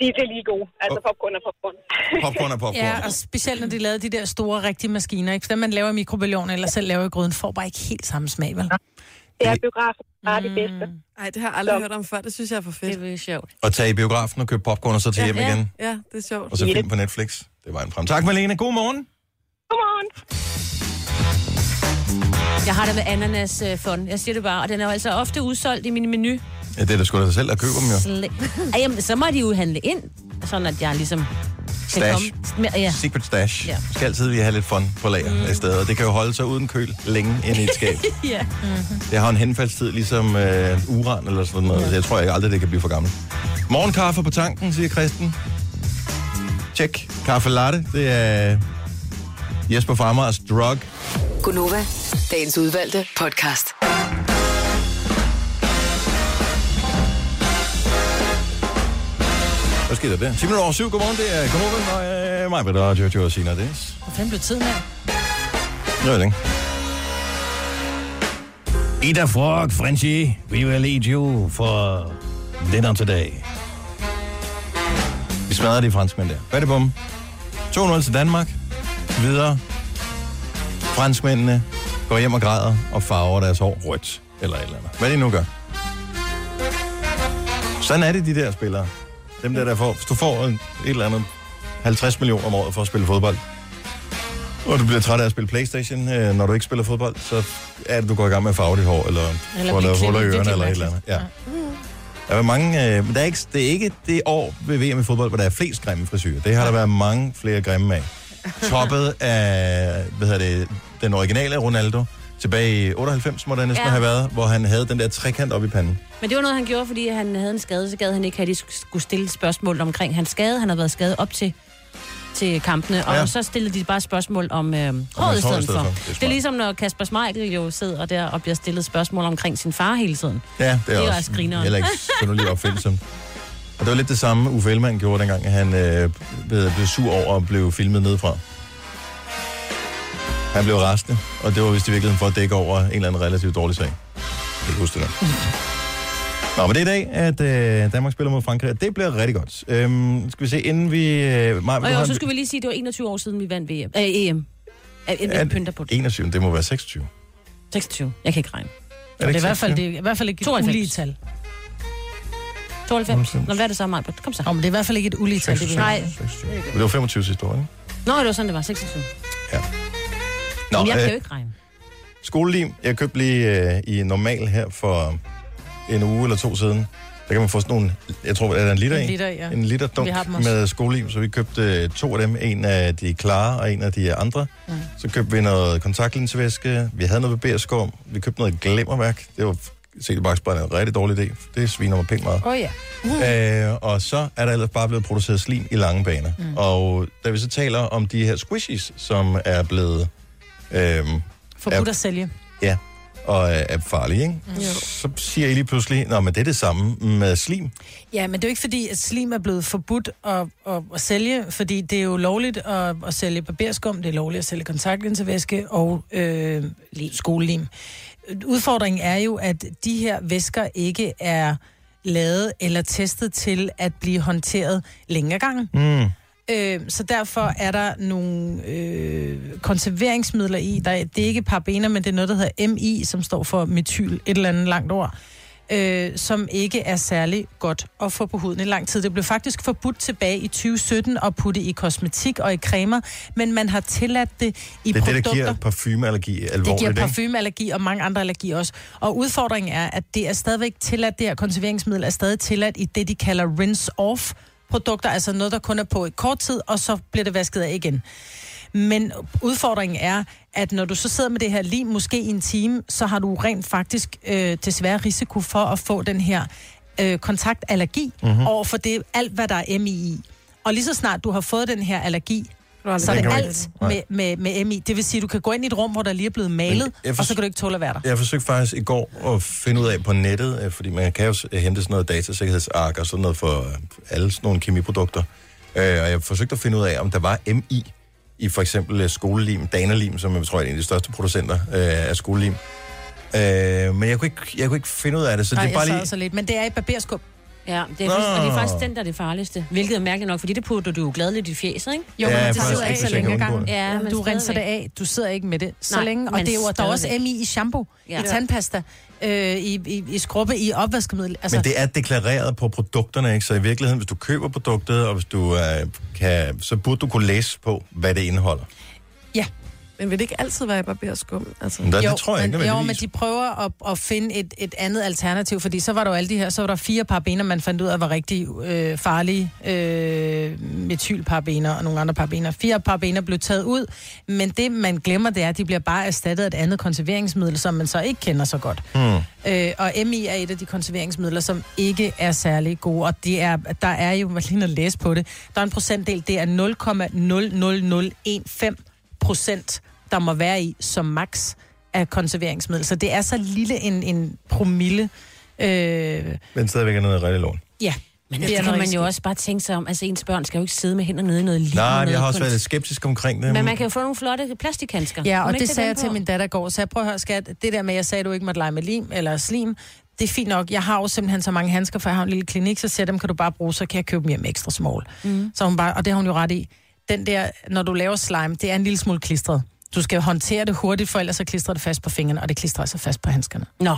De, det er lige gode. Altså Og- popcorn er popcorn. Popcorn er popcorn. Ja, og specielt når de lavede de der store, rigtige maskiner, ikke? For dem, man laver i mikrobølgeovnen eller selv laver i gryden, får bare ikke helt samme smag, vel? det er biografen, der er de bedste. Mm. Ej, det har jeg aldrig hørt om før. Det synes jeg er for Det er fedt. virkelig sjovt. Og tage i biografen og købe popcorn, og så tage hjem igen. Ja, det er sjovt. Og så film på Netflix. Det var en frem. Tak, Malene. God morgen. Godmorgen. Jeg har det med ananas øh, fond. Jeg siger det bare. Og den er jo altså ofte udsolgt i min menu. Ja, det er da sgu da selv, der køber dem jo. Sle- Ej, jamen, så må de jo handle ind, sådan at jeg ligesom kan Stash. komme. med- Ja. Secret stash. Ja. Ja. Skal altid lige have lidt fun på lager mm. af stedet. Og det kan jo holde sig uden køl længe inde i et skab. ja. Mhm. Det har en henfaldstid, ligesom øh, uran eller sådan noget. Så jeg tror ikke aldrig, det kan blive for gammelt. Morgenkaffe på tanken, siger Kristen. Tjek. Kaffe latte, det er Jesper Farmers drug. Gunova, dagens udvalgte podcast. Hvad sker der der? 10 minutter over 7. Godmorgen, det er Konoven og øh, mig, Britta, og Jojo og Sina. Det er Hvor fanden blev tiden af? Jeg ved det ikke. Ida Frog, Frenchy, we will eat you for dinner today. Vi smadrer de franskmænd der. Hvad er det bum? 2-0 til Danmark. Videre. Franskmændene går hjem og græder og farver deres hår rødt. Eller et eller andet. Hvad de nu gør. Sådan er det, de der spillere. Dem der, der får, hvis du får en, et eller andet 50 millioner om året for at spille fodbold, og du bliver træt af at spille Playstation, øh, når du ikke spiller fodbold, så er det, du går i gang med at farve dit hår, eller, eller Eller får blive lavet huller i ørerne, klippet virkelig eller et eller andet. mærkeligt. Ja. Der er mange, øh, men der er ikke, det er ikke det år ved VM i fodbold, hvor der er flest grimme frisyrer. Det har der været mange flere grimme af. Toppet af, hvad hedder det, den originale Ronaldo, tilbage i 98 må der næsten ja. Ja. have været, hvor han havde den der trekant op i panden. Men det var noget, han gjorde, fordi han havde en skade, så gad han ikke, at de skulle stille spørgsmål omkring hans skade. Han havde været skadet op til til kampene, og Ja. ja. så stillede de bare spørgsmål om øh, hår håret i stedet i stedet for. for. Det er Det, det er smart. ligesom, når Kasper Schmeichel jo sidder der og bliver stillet spørgsmål omkring sin far hele tiden. Ja, det er, er også, også grineren. heller ikke [LAUGHS] synderligt opfindsomt. Og det var lidt det samme, Uffe Ellemann gjorde, dengang han øh, blev, blev sur over og blev filmet nedefra. Han blev rasende, og det var vist i virkeligheden for at dække over en eller anden relativt dårlig sag. Jeg kan ikke huske det der. Nå, men det er i dag, at øh, Danmark spiller mod Frankrig, og det bliver rigtig godt. Øhm, skal vi se, inden vi... Øh, Maja, Og jo, så skulle vi lige sige, at det var 21 år siden, vi vandt VM. Øh, EM. Øh, Jeg pynter på det. 21, det må være 26. Er 26. Jeg kan ikke regne. Og det er i hvert fald, 26? det er i hvert fald ikke et 92. ulige tal. 92. Nå, hvad er det så, Maja? Kom så. Nå, men det er i hvert fald ikke et ulige tal, det vi har. Nej. 26. Men Det var 25 sidste år, ikke? Nå, det var sådan, det var. 26. Nå, Men jeg kan øh, jo ikke regne. Skolelim, jeg købte lige øh, i normal her for en uge eller to siden. Der kan man få sådan nogle, jeg tror, er der en liter En i? liter, ja. En liter dunk Vi har dem også. med skolelim, så vi købte øh, to af dem. En af de klare, og en af de andre. Mm. Så købte vi noget kontaktlinsevæske, vi havde noget barberskum, vi købte noget glimmerværk. Det var set i bagspejlet en rigtig dårlig idé. Det sviner mig pænt meget. Åh oh, ja. Øh, og så er der ellers bare blevet produceret slim i lange baner. Mm. Og da vi så taler om de her squishies, som er blevet... Øh, Forbudt Ja. at sælge. Ja, og øh, er farlig, ikke? Mm. Så siger I lige pludselig, Nå, men det er det samme med slim. Ja, men det er jo ikke fordi, at slim er blevet forbudt at, at, at sælge, fordi det er jo lovligt at, at sælge barberskum, det er lovligt at sælge kontaktlinsevæske og øh, skolelim. Udfordringen er jo, at de her væsker ikke er lavet eller testet til at blive håndteret længere gang. Mm. Øh, så derfor er der nogle øh, konserveringsmidler i. Der, er- det er ikke parabener, men det er noget, der hedder MI, som står for metyl, et eller andet langt ord, øh, som ikke er særlig godt at få på huden i lang tid. Det blev faktisk forbudt tilbage i 2017 at putte i kosmetik og i cremer, men man har tilladt det i Det er det, produkter. der giver parfumeallergi Det giver alvorligt, ikke? parfumeallergi og mange andre allergier også. Og udfordringen er, at det er stadigvæk tilladt, det her konserveringsmiddel er stadig tilladt i det, de kalder rinse-off produkter, altså noget, der kun er på i kort tid, og så bliver det vasket af igen. Men udfordringen er, at når du så sidder med det her lim, måske i en time, så har du rent faktisk øh, desværre risiko for at få den her øh, kontaktallergi mm-hmm. over for det, alt, hvad der er MI i. Og lige så snart du har fået den her allergi, så er Den det kan du alt ikke- med, med, med MI. Det vil sige, at du kan gå ind i et rum, hvor der lige er blevet malet, Men jeg og så forst- kan du ikke tåle at være der. Jeg forsøgte faktisk i går at finde ud af på nettet, øh, fordi man kan jo s- hente sådan noget datasikkerhedsark og sådan noget for øh, alle sådan nogle kemiprodukter. Øh, Og jeg forsøgte at finde ud af, om der var MI i for eksempel øh, skolelim, Danalim, som jeg tror er en af de største producenter øh, af skolelim. Øh, Men jeg kunne, ikke, jeg kunne ikke finde ud af det, så Nej, det er bare jeg sad lige... så lidt. Men det er i barberskub. Ja, det er, Nå. og det er faktisk den, der er det farligste. Hvilket er mærkeligt nok, fordi det putter du jo gladeligt i fjeset, ikke? Jo, Ja, ja, men faktisk det sidder ikke, ikke så hvis jeg kan længe undgå gang. det. Ja, Ja, men du renser det stadigvæk. af. Du sidder ikke med det så Nej, længe. Og men det er jo, der er også stadigvæk. MI i shampoo, ja. Ja. i tandpasta, øh, i, i, i skrubbe, i opvaskemiddel. Altså, Men det er deklareret på produkterne, ikke? Så i virkeligheden, hvis du køber produktet, og hvis du øh, kan, så burde du kunne læse på, hvad det indeholder. Men vil det ikke altid være i barberskum? Altså, Men der, jo, det tror jeg men, ikke, Jo, men nødvendigvis. de prøver at, at finde et, et andet alternativ, fordi så var der jo alle de her, så var der fire parabener, man fandt ud af var rigtig øh, farlige. Øh, metylparabener og nogle andre parabener. Fire parabener blev taget ud, men det man glemmer, det er, at de bliver bare erstattet af et andet konserveringsmiddel, som man så ikke kender så godt. Mm. Øh, og MI er et af de konserveringsmidler, som ikke er særlig gode, og det er, der er jo, man lige at læse på det, der er en procentdel, det er 0,00015 procent, der må være i som max af konserveringsmiddel. Så det er så lille en, en promille. Øh, Men stadigvæk er noget rigtig lån. ja. Men Det det er kan noget man jo skidt. også bare tænke sig om. Altså, ens børn skal jo ikke sidde med hænder nede i noget liv. Nej, men jeg har også været kunst. lidt skeptisk omkring det. Men man kan jo få nogle flotte plastikhandsker. Ja, Må man og ikke det sagde jeg den til på? min datter i går, så jeg prøver at høre, skat, det der med, at jeg sagde, at du ikke måtte lege med lim eller slim, det er fint nok. Jeg har jo simpelthen så mange handsker, for jeg har en lille klinik, så siger jeg, dem kan du bare bruge, så kan jeg købe dem hjem ekstra small. Mm. Så hun bare, og det har hun jo ret i. Den der, når du laver slime, det er en lille smule klistret. Du skal håndtere det hurtigt, for ellers så klistrer det fast på fingrene, og det klistrer altså fast på handskerne. Nå.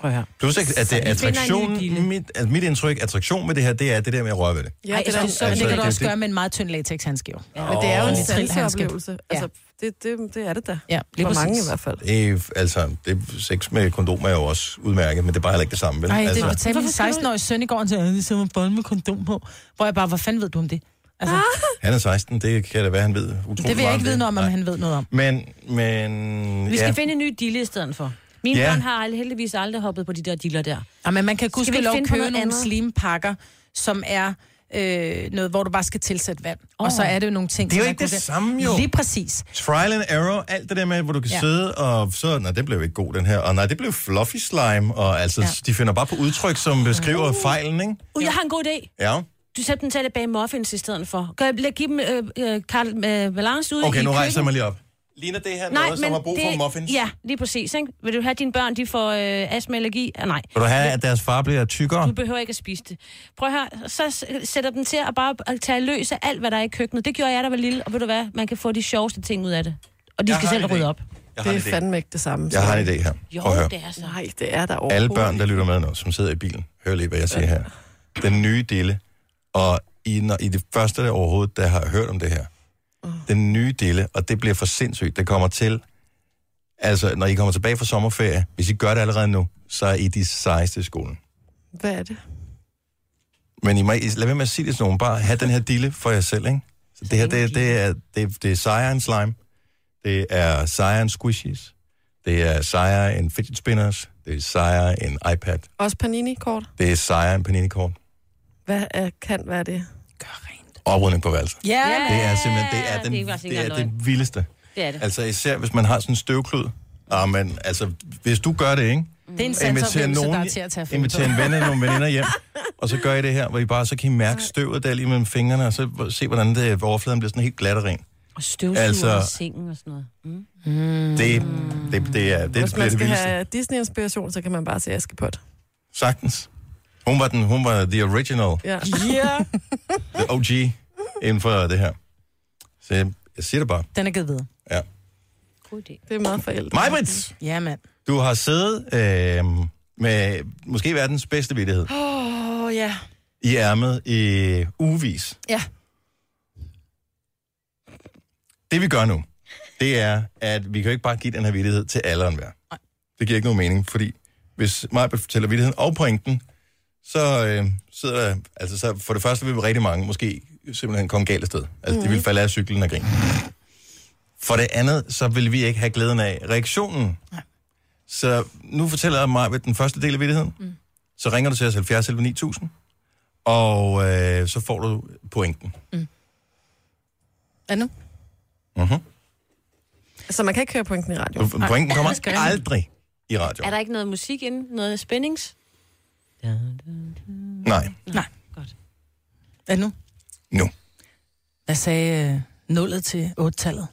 Prøv at høre. Plus at, at det er finder en ny kilde. attraktion, mit, at mit indtryk, attraktion med det her, det er det der med at røre ved det. ja, Ej, det, jeg er, synes så, så- Men det kan du Altså, det- også det- gøre med en meget tynd latexhandske, jo. men det er jo en Åh. sanseoplevelse. Altså, det, det, det er det da. Ja, lige For mange præcis. i hvert fald. Det er, altså, det, sex med kondom er jo også udmærket, men det er bare heller ikke det samme, vel? Nej, det altså, fortalte min 16-årige søn i går, han sagde, at det er bold med kondom på. Hvor jeg bare, hvad fanden ved du om det? Altså, ah, Han er 16, det kan da være, han ved. utrolig det vil jeg meget ikke om vide noget om, om Nej. han ved noget om. Men, men... Vi Mm, skal ja. ja. finde en ny dille i stedet for. Mine Ja. ja. børn har ald- heldigvis aldrig hoppet på de der diller der. Ja, men man kan vi huske ikke lov finde på købe noget nogle andet? slimpakker, som er øh, noget, hvor du bare skal tilsætte vand. Oh. Og så er det jo nogle ting, Det er jo som ikke man det kunne- samme, jo. Lige præcis. Trial and error, alt det der med, hvor du kan ja. Ja. sidde og så, nej, det blev ikke god den her, og nej, det blev fluffy slime, og altså, ja. Ja. de finder bare på udtryk, som beskriver uh. fejlen, ikke? Uh, jeg har en god idé. Ja. Du sætter dem til at bage muffins i stedet for. Gør, lad, giv dem øh, øh, Karl øh, Valance ud Okay, i nu rejser jeg køkkenet. mig lige op. Ligner det her noget, som har brug for muffins? Ja, lige præcis. Ikke? Vil du have, at dine børn de får øh, astma allergi? Ah, nej, Vil du have, at deres far bliver tykkere? du behøver ikke at spise det. Prøv at høre, så s- sætter dem til at bare at tage løs af alt, hvad der er i køkkenet. Det gjorde jeg, der var lille, og ved du hvad, man kan få de sjoveste ting ud af det. Og de Jeg skal har selv en idé. rydde op. Jeg har Det er en idé. fandme ikke det samme. Jeg så- har en idé her. Jo, Prøv at høre. det er så. Nej, det er der overhovedet. Alle børn, der lytter med nu, som sidder i bilen, hør lige, hvad jeg siger her. Den nye dille, og i, når, i det første der overhovedet, der har hørt om det her, den nye dille, og det bliver for sindssygt, det kommer til, altså når I kommer tilbage fra sommerferie, hvis I gør det allerede nu, så er I de sejeste i skolen. Hvad er det? Men I må, I- lad være med at sige det til nogen, bare have den her dille for jer selv, ikke? Så det her, det, det er, det, det er sejere end slime, det er sejere end squishies, det er sejere end fidget spinners, det er sejere end iPad, Også panini-kort? det er sejere end paninikort. Hvad er, kan være det? Gør rent. oprydning på værelset. Ja, Ja. yeah. Det er simpelthen, det er, det er den, ikke bare det, er sikkert det vildeste. Det er det. Altså især, hvis man har sådan en støvklud. Ah, men altså, hvis du gør det, ikke? det er en Inviterer sansoplevelse, der er nogen, til at tage fat inviterer en ven eller nogle veninder [LAUGHS] hjem, og så gør I det her, hvor I bare så kan I mærke støvet der lige mellem fingrene, og så se, hvordan det, hvor overfladen bliver sådan helt glat og ren. Og støvsuger Altså- altså... og sengen og sådan noget. Mm. Det, det, det er det, det, Hvis bliver man det skal vildeste. have Disney-inspiration, så kan man bare se Askepot. Sagtens. Hun var, den, hun var the original, Ja. the OG, inden for det her. Så jeg, jeg siger det bare. [LAUGHS] Den er givet videre. Ja. God idé. Det er meget forældre. Majbrits! Ja, mand. Du har siddet øh, med måske verdens bedste vittighed Åh, oh, ja. i ærmet i ugevis. Ja. Det vi gør nu, det er, at vi kan jo ikke bare give den her vittighed til alle og enhver. Det giver ikke nogen mening, fordi hvis mig fortæller vittigheden og pointen, så øh, sidder der, altså så for det første vil vi rigtig mange måske simpelthen komme galt af sted. Altså mm. de vil falde af cyklen og grine. For det andet, så vil vi ikke have glæden af reaktionen. Så nu fortæller jeg mig den første del af vittigheden. Mm. Så ringer du til os 70 11 9000, og øh, så får du pointen. Er det nu? Mm-hmm. Så man kan ikke høre pointen i radio. Pointen kommer skal ringe. aldrig i radio. Er der ikke noget musik inden? Noget spændings? Nej, Er det nu? nu. Jeg sagde øh, nullet til 8-tallet.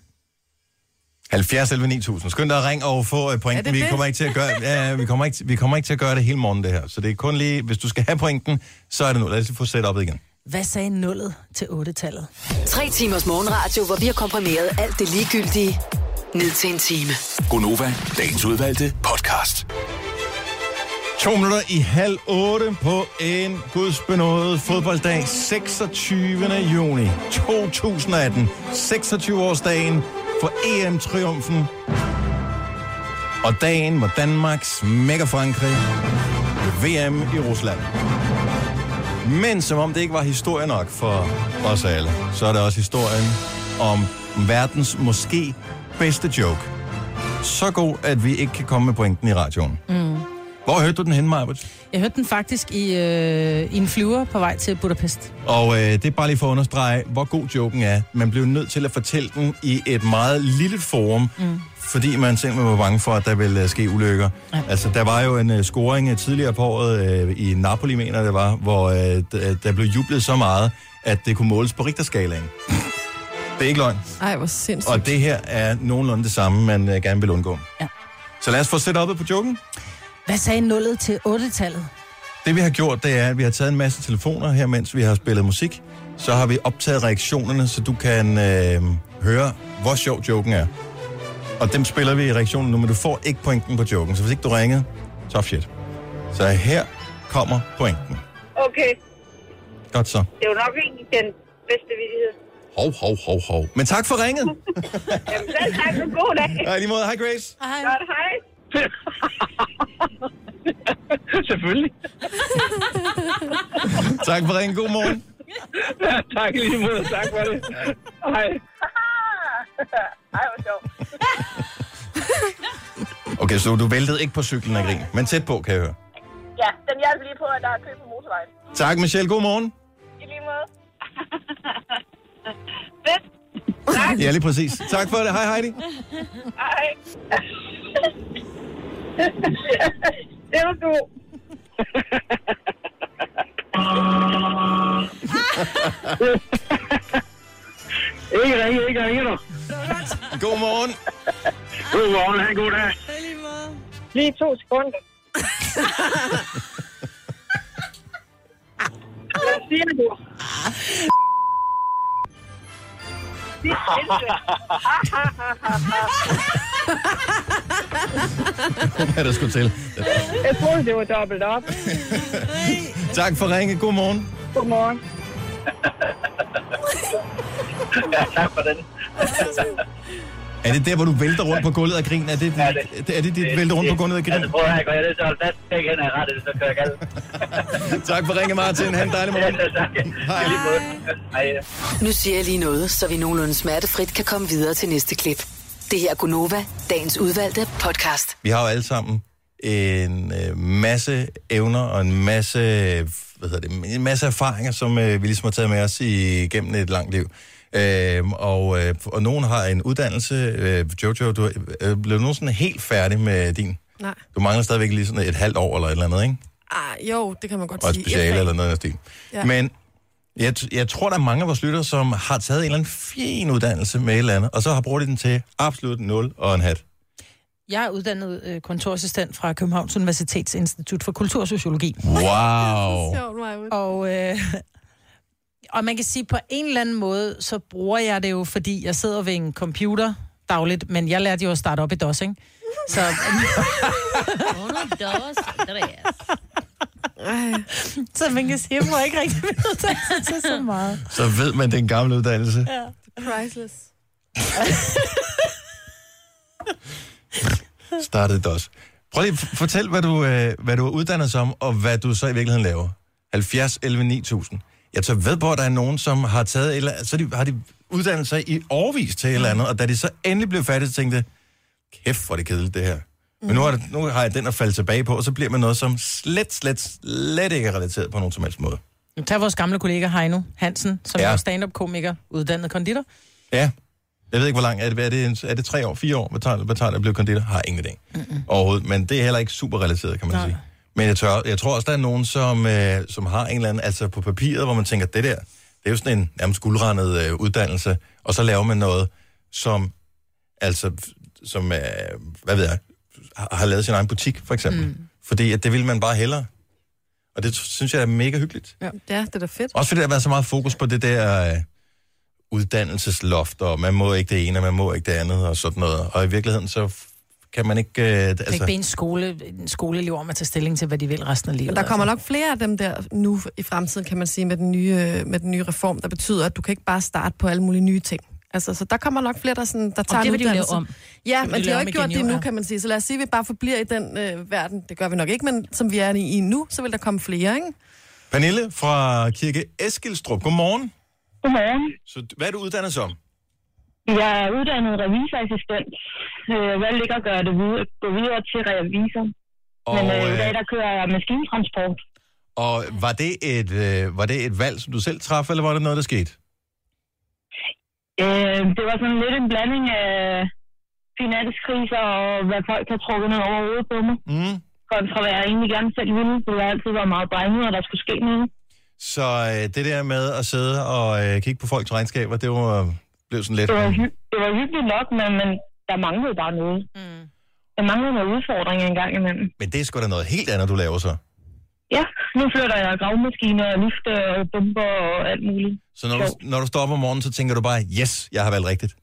70 11 9000. Skynd dig at ringe og få øh, pointen. Er det Vi det? kommer, ikke til at gøre, ja, vi, kommer ikke, vi kommer ikke til at gøre det hele morgen, det her. Så det er kun lige, hvis du skal have pointen, så er det nu. Lad os lige få set op igen. Hvad sagde nullet til 8-tallet? Tre timers morgenradio, hvor vi har komprimeret alt det ligegyldige ned til en time. Gonova, dagens udvalgte podcast. To minutter i halv otte på en gudsbenået fodbolddag 26. juni 2018. 26-årsdagen for EM-triumfen. Og dagen, hvor Danmark smækker Frankrig ved VM i Rusland. Men som om det ikke var historie nok for os alle, så er det også historien om verdens måske bedste joke. Så god, at vi ikke kan komme med pointen i radioen. Mm. Hvor hørte du den henne, Majbert? Jeg hørte den faktisk i, øh, i en flyver på vej til Budapest. Og øh, det er bare lige for at understrege, hvor god joken er. Man blev nødt til at fortælle den i et meget lille forum, mm. fordi man simpelthen var bange for, at der ville øh, ske ulykker. Ja. Altså, der var jo en øh, scoring øh, tidligere på året øh, i Napoli, mener jeg, det var, hvor øh, d- øh, der blev jublet så meget, at det kunne måles på Richterskalaen. det er ikke løgn. Ej, hvor sindssygt. Og det her er nogenlunde det samme, man øh, gerne vil undgå. Ja. Så lad os få setupet på joken. Hvad sagde nullet til 8-tallet? Det vi har gjort, det er, at vi har taget en masse telefoner her, mens vi har spillet musik. Så har vi optaget reaktionerne, så du kan øh, høre, hvor sjov joken er. Og dem spiller vi i reaktionen nu, men du får ikke pointen på joken. Så hvis ikke du ringede, tough shit. Så her kommer pointen. Okay, Godt så. det er jo nok ikke den bedste vidighed. Hov, hov, hov, hov. Men tak for ringet. Jamen, selv tak og god dag. Hej, lige måde. Hej, Grace. Godt, hej. Selvfølgelig. Tak for ringet. God morgen. [LAUGHS] tak lige måde. Tak for det. Hej. Hej, hvor sjovt. Okay, så du væltede ikke på cyklen af grin, men tæt på, kan jeg høre. Ja, den hjalp lige på, at der er kø på motorvejen. Tak, Michelle. God morgen. I lige måde. [LAUGHS] Fedt. Ja, lige præcis. Tak for det. Hej, Heidi. Hej. det var god. Ikke ringe, ikke ringe dig. God morgen. God morgen. Ha' en god dag. Lige to sekunder. Hvad siger du? Det er sindssygt. [LAUGHS] Hvad der skulle til. Jeg troede, det var dobbelt op. Tak for ringet. God morgen. Godmorgen. Tak for den. [LAUGHS] Er det der, hvor du vælter rundt på gulvet og griner? Er det, Ja, dit, det, er det dit vælter rundt på gulvet og griner? Altså, prøv at høre, går jeg nødt til at holde fast begge hænder i rettet, så kører jeg galt. [LAUGHS] Tak for ringe, Martin. Ha' en dejlig Ja, morgen. så tak. Hej. Hej. Lige måde. Hej. Nu siger jeg lige noget, så vi nogenlunde smertefrit kan komme videre til næste klip. Det her er Gunova, dagens udvalgte podcast. Vi har jo alle sammen en øh, masse evner og en masse, øh, hvad hedder det, en masse erfaringer, som øh, vi ligesom har taget med os igennem et langt liv. Øhm, og, øh, og nogen har en uddannelse. Øh, Jojo, du øh, blev nu sådan helt færdig med din. Nej. Du mangler stadigvæk lige sådan et halvt år eller et eller andet, ikke? Ah, jo, det kan man godt og et sige. speciale eller noget af den stil. Ja. Ja. Men jeg, t- jeg tror, der er mange af vores lyttere, som har taget en eller anden fin uddannelse med et eller andet, og så har brugt den til absolut 0 og en hat. Jeg er uddannet øh, kontorassistent fra Københavns Universitets Institut for Kultursociologi. [LAUGHS] Wow! Sjovt, Maja. Og, øh, [LAUGHS] og man kan sige, på en eller anden måde, så bruger jeg det jo, fordi jeg sidder ved en computer dagligt, men jeg lærte jo at starte op i [LAUGHS] DOS, ikke? Så, Under dos, tres. Ej. [LAUGHS] så man kan sige, jeg bruger ikke rigtig min uddannelse til så meget. Så ved man, det er en gammel uddannelse. Ja. Priceless. Startede det også. Prøv lige at f- fortæl, hvad du, øh, hvad du er uddannet som, og hvad du så i virkeligheden laver. 70, 11, 9000. Jeg tager ved på, at der er nogen, som har taget, et eller, så de, har de uddannet sig i overvis til et eller andet, og da de så endelig blev færdige, så tænkte jeg, kæft, hvor er det kedeligt, det her. Men nu har, det, nu har jeg den at falde tilbage på, og så bliver man noget, som slet, slet, slet ikke er relateret på nogen som helst måde. Tag vores gamle kollega Heino Hansen, som Ja. ja. er stand-up-komiker, uddannet konditor. Ja. Jeg ved ikke, hvor lang er det. Er det, en, er det tre år, fire år? Hvad tager, hvad tager det at blive konditor? Har ingen idé. Mm-mm. Overhovedet. Men det er heller ikke super relateret, kan man Nej. sige. Men jeg, tør, jeg tror også, der er nogen, som, øh, som har en eller anden, altså på papiret, hvor man tænker, det der, det er jo sådan en nærmest guldrendet øh, uddannelse, og så laver man noget, som, altså, som, øh, hvad ved jeg, har, har lavet sin egen butik, for eksempel. Mm. Fordi at det vil man bare hellere. Og det synes jeg er mega hyggeligt. Ja, det er da fedt. Også fordi der har været så meget fokus på det der øh, uddannelsesloft, og man må ikke det ene, og man må ikke det andet, og sådan noget. Og i virkeligheden, så f- kan man ikke... Øh, d- Altså. Ikke altså, bede en, skole, en skoleelev om at tage stilling til, hvad de vil resten af livet. Men der kommer altså. nok flere af dem der nu i fremtiden, kan man sige, med den nye, øh, med den nye reform, der betyder, at du kan ikke bare starte på alle mulige nye ting. Altså, så der kommer nok flere, der, sådan, der tager det en vil de jo lave uddannelse. om. Ja, vil men de de har lave jo om ikke gjort igen, det jo, nu, ja. kan man sige. Så lad os sige, at vi bare forbliver i den øh, verden. Det gør vi nok ikke, men som vi er i, i nu, så vil der komme flere, ikke? Pernille fra Kirke Eskilstrup, godmorgen. Godmorgen. Så, d- hvad er du uddannet som? Jeg er uddannet revisorassistent. Øh, Jeg valgte ikke at gøre det videre, gå videre til revisor. Og, Men øh, i dag, øh, der kører jeg maskintransport. og var, det et, øh, var det et valg, som du selv traf, eller var det noget, der skete? Øh, det var sådan lidt en blanding af finanskriser og hvad folk har trukket ned over hovedet på mig. Mm. Kontra hvad jeg egentlig gerne selv ville, for jeg har altid været meget drenget, og der skulle ske noget. Så øh, det der med at sidde og øh, kigge på folks regnskaber, det var, blev sådan lidt... Det var, hy- det var hyggeligt nok, men, men der manglede bare noget. Mm. Der manglede noget udfordring engang imellem. Men det er sgu da noget helt andet, du laver så. Ja, nu flytter jeg gravmaskiner, og lifte og bomber og alt muligt. Så når du, når du står op om morgenen, så tænker du bare, yes, jeg har valgt rigtigt.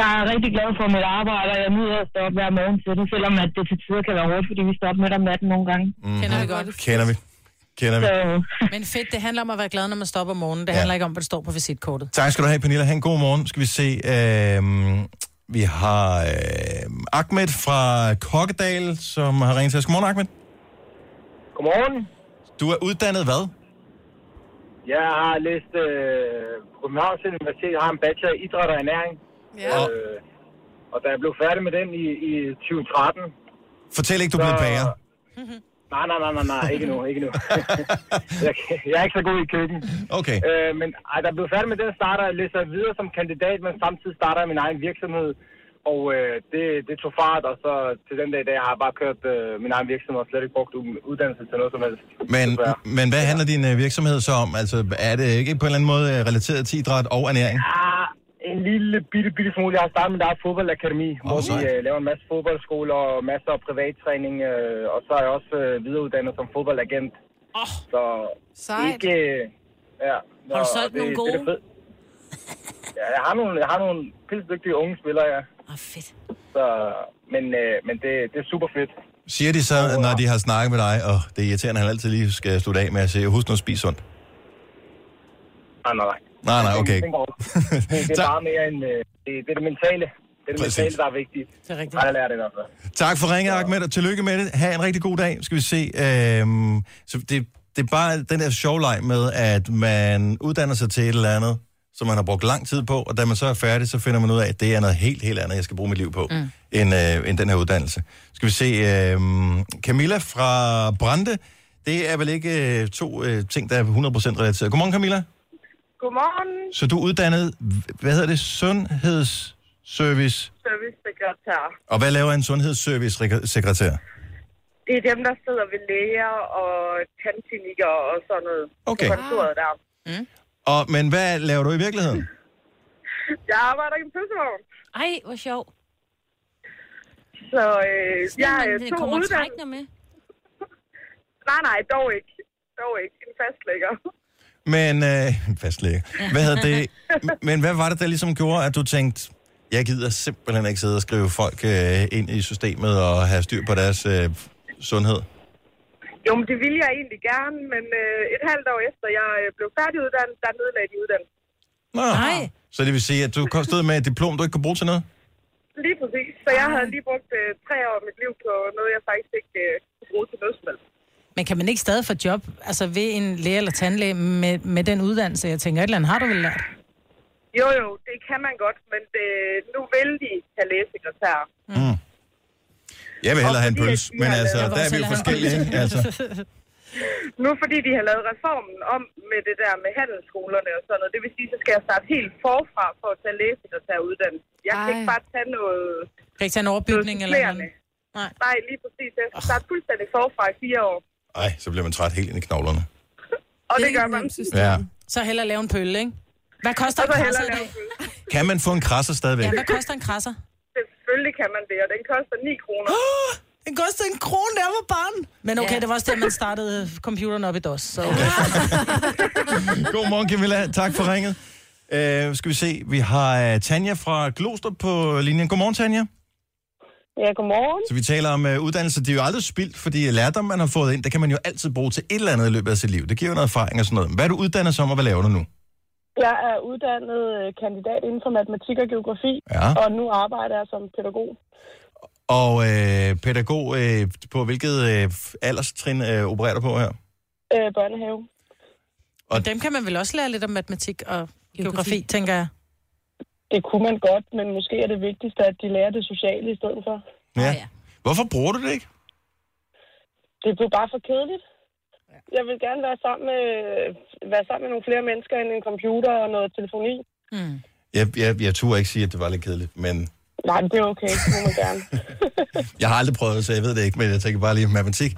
Jeg er rigtig glad for mit arbejde, og jeg nyder at stå op hver morgen til det, selvom at det til tider kan være hårdt, fordi vi står op midt om natten nogle gange. Mm. Kender vi godt. Kender vi. Kender vi. Så Øh. Men fedt, det handler om at være glad, når man står op om morgenen. Det Ja. ja. handler ikke om, hvad der står på visitkortet. Tak skal du have, Pernille. Ha' en god morgen. Skal vi se. Øh, vi har øh, Ahmed fra Kokkedal, som har ringet til os. Godmorgen, Ahmed. Godmorgen. Du er uddannet hvad? Jeg har læst øh, på Københavns Universitet, jeg har en bachelor i idræt og ernæring. Ja. Og Øh, og da jeg blev færdig med den i, i 2013, fortæl ikke, du blev Så- bager. nej, nej, nej, nej, nej, ikke nu, ikke nu. jeg, jeg er ikke så god i køkken. Okay. Øh, men ej, der blev færdig med den, starter jeg læser jeg videre som kandidat, men samtidig starter jeg min egen virksomhed. Og øh, det, det tog fart, og så til den dag i dag har jeg bare kørt øh, min egen virksomhed og slet ikke brugt u- uddannelse til noget som helst. Men, Desværre. men hvad handler din øh, virksomhed så om? Altså, er det ikke på en eller anden måde øh, relateret til idræt og ernæring? Ah, en lille bitte, bitte smule. Jeg har startet med der fodboldakademi, oh, hvor vi sejt. øh, laver en masse fodboldskoler og masser af privattræning. Øh, og så er jeg også øh, videreuddannet som fodboldagent. Oh, så Sejt. ikke... Øh, ja, Har du og solgt det- nogle det er det gode? fed- Ja, jeg har nogle, jeg har nogle pilsdygtige unge spillere, ja. Åh, oh, fedt. Så, men øh, men det, det er super fedt. Siger de så, når de har snakket med dig, og oh, det er irriterende, at han altid lige skal slutte af med at sige, husk nu at spise sundt. Nej, nej, nej. Nej, nej, okay. Det, det, det er Tak. [LAUGHS] bare mere end... Øh, det, det er det mentale. Det er det Præcis. mentale, der er vigtigt. Det er rigtigt. Har jeg lært det i hvert fald. Tak for ringet, Ahmed, og tillykke med det. Ha' en rigtig god dag, skal vi se. Øhm, så det, det er bare den der sjov leg med, at man uddanner sig til et eller andet, som man har brugt lang tid på, og da man så er færdig, så finder man ud af, at det er noget helt, helt andet, jeg skal bruge mit liv på, mm. end, øh, end den her uddannelse. Skal vi se, øh, Camilla fra Brande, det er vel ikke øh, to øh, ting, der er 100% relateret. Godmorgen, Camilla. Godmorgen, Så du er uddannet, h- hvad hedder det, sundhedsservice, servicesekretær. og hvad laver en sundhedsservice-sekretær? Det er dem, der sidder ved læger og tandklinikker og sådan noget. Okay. Kontoret der. Og, men hvad laver du i virkeligheden? Jeg arbejder i en pølsevogn. Ej, hvor sjov. Så øh, jeg Ja, er det to kommer uddannet. trækkende med. Nej, nej, dog ikke. Dog ikke. En fastlægger. Men, øh, [LAUGHS] fastlæge. Hvad hedder [LAUGHS] det? M- Men hvad var det, der ligesom gjorde, at du tænkte, jeg gider simpelthen ikke sidde og skrive folk øh, ind i systemet og have styr på deres øh, sundhed? [LAUGHS] Jo, men det ville jeg egentlig gerne, men øh, et halvt år efter jeg øh, blev færdiguddannet, der nedlagde de uddannelsen. Nå. Nej. Så det vil sige, at du kom- stod med et diplom, du ikke kunne bruge til noget? Lige præcis. Så jeg havde lige brugt øh, tre år af mit liv på noget, jeg faktisk ikke øh, kunne bruge til noget som helst. Men kan man ikke stadig få job altså ved en læge eller tandlæge med, med den uddannelse? Jeg tænker, et eller andet har du vel lært? Jo, jo, øh, det kan man godt, men det, nu vil de have lægesekretærer. Mm. Jeg vil hellere have en Mm. fordi, at pølse, de men har altså, lavet- der er vi jo forskellige, ikke? Altså, [LAUGHS] Nu fordi de har lavet reformen om med det der med handelsskolerne og sådan noget, det vil sige, så skal jeg starte helt forfra for at tage læsen og tage uddannelse. Jeg kan Ej. ikke bare tage noget, Kan ikke tage en noget overbygning eller supplerende. noget? Nej. Nej, lige præcis. Jeg skal starte fuldstændig forfra i fire år. ej, så bliver man træt helt ind i knoglerne. Og det, er gør et man. nemt system. Ja. Så hellere lave en pølle, ikke? Hvad koster Og en så krasser hellere i lave dag? en pølse. Kan man få en krasser stadigvæk? Ja, hvad koster en krasser? Selvfølgelig kan man det, og den koster 9 [GASPS] kroner. Den koster en krone, der var barn. Men okay, ja. det var også der, man startede computeren op i DOS. Så. Ja. [COUGHS] Godmorgen, Camilla. Tak for ringet. Uh, skal vi se, vi har uh, Tanja fra Glostrup på linjen. Godmorgen, Tanja. Ja, godmorgen. Så vi taler om uh, uddannelse. Det er jo aldrig spildt, fordi lærdom, man har fået ind, det kan man jo altid bruge til et eller andet i løbet af sit liv. Det giver jo noget erfaring og sådan noget. Hvad er du uddannet som, og hvad laver du nu? Jeg er uddannet øh, kandidat inden for matematik og geografi, Ja. og nu arbejder jeg som pædagog. Og uh, pædagog, uh, på hvilket uh, alderstrin uh, opererer du på her? Øh, børnehave. Og dem kan man vel også lære lidt om matematik og geografi, Geografi. geografi. tænker jeg. Det kunne man godt, men måske er det vigtigste, at de lærer det sociale i stedet for. Ja. ja. Hvorfor bruger du det ikke? Det blev bare for kedeligt. Jeg vil gerne være sammen med, være sammen med nogle flere mennesker end en computer og noget telefoni. Jeg, jeg, jeg turde ikke sige, at det var lidt kedeligt, men Nej, det er okay. Det må man gerne. jeg har aldrig prøvet det, så jeg ved det ikke, men jeg tænker bare lige matematik.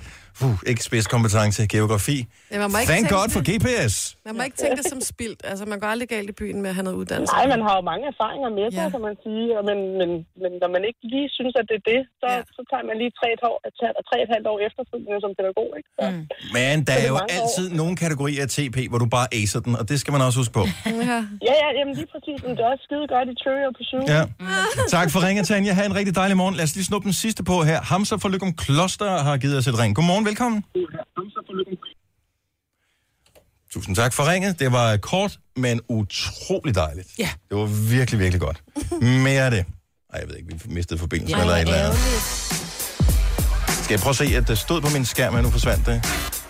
Uh, ikke spidskompetence, geografi. Ja, man må ikke Thank tænke God det. for GPS. Man må ikke tænke det som spildt. Altså, man går aldrig galt i byen med at have noget uddannelse. Nej, man har jo mange erfaringer med sig, Ja. ja. kan man sige. Og Men, men, men når man ikke lige synes, at det er det, så, Ja. ja. så tager man lige tre et, år, tre- tre et halvt år efterfølgende som pædagog. Ikke? Så, mm. Men der det er er jo mange år. altid nogle kategorier af TP, hvor du bare acer den, og det skal man også huske [LAUGHS] på. Ja. Ja, ja, jamen lige præcis. Men det er også skide godt i Trivia på syv. Ja. Mm. Tak for ringet, Tanja. Ha' en rigtig dejlig morgen. Lad os lige snuppe den sidste på her. Hamza fra Lykum Kloster har givet os et ring. Godmorgen, velkommen. Tusind tak for ringet. Det var kort, men utrolig dejligt. Ja. Det var virkelig, virkelig godt. Mere af det. Ej, jeg ved ikke, vi mistede forbindelsen eller et eller andet. Skal jeg prøve at se, at det stod på min skærm, men nu forsvandt det.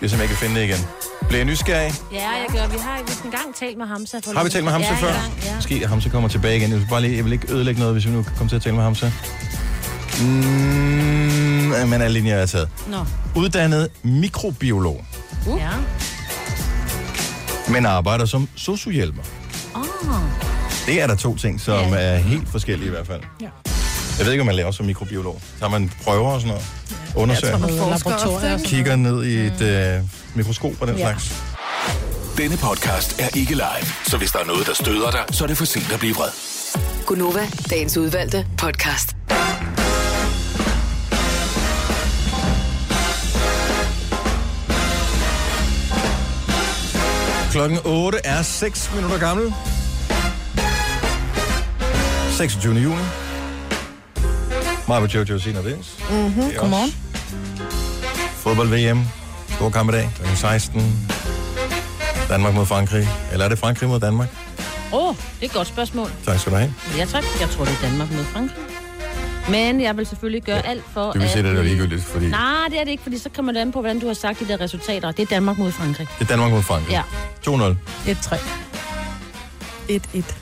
Jeg simpelthen ikke kan finde det igen. Bliver jeg nysgerrig? Ja, jeg gør. Vi har ikke engang talt med Hamza. For Har vi talt med Hamza ja, før? engang, Ja. Måske Hamza kommer tilbage igen. Jeg vil, bare lige, jeg vil ikke ødelægge noget, hvis vi nu kommer til at tale med Hamza. Mm, men alle linjer er taget. Nå. Uddannet mikrobiolog, Uh. Ja. men arbejder som sociohjælper. Oh. Det er der to ting, som Ja. er helt forskellige i hvert fald. Ja. Jeg ved ikke, om man laver som mikrobiolog. Så man prøver og sådan noget. Undersøger. Man forsker laboratorier ofte, og ikke? Kigger ned i et øh, mikroskop og den ja. slags. Denne podcast er ikke live, så hvis der er noget, der støder dig, så er det for sent at blive vred. Gunova, dagens udvalgte podcast. Klokken 8 er 6 minutter gammel. 26. juni. Maja Jojo Sina Vins. Mm-hmm. Godmorgen. Fodbold-VM. Stor kamp i dag. Klokken 16. Danmark mod Frankrig. Eller er det Frankrig mod Danmark? Oh, det er et godt spørgsmål. Tak skal du have. Jeg tror, jeg tror det er Danmark mod Frankrig. Men jeg vil selvfølgelig gøre alt for, Du kan se, at det er vi- ligegyldigt, fordi det Nej, det er det ikke, fordi så kommer det an på, hvordan du har sagt de der resultater. Det er Danmark mod Frankrig. er Danmark mod Frankrig. Ja. 2-0. Et træ. Et, et.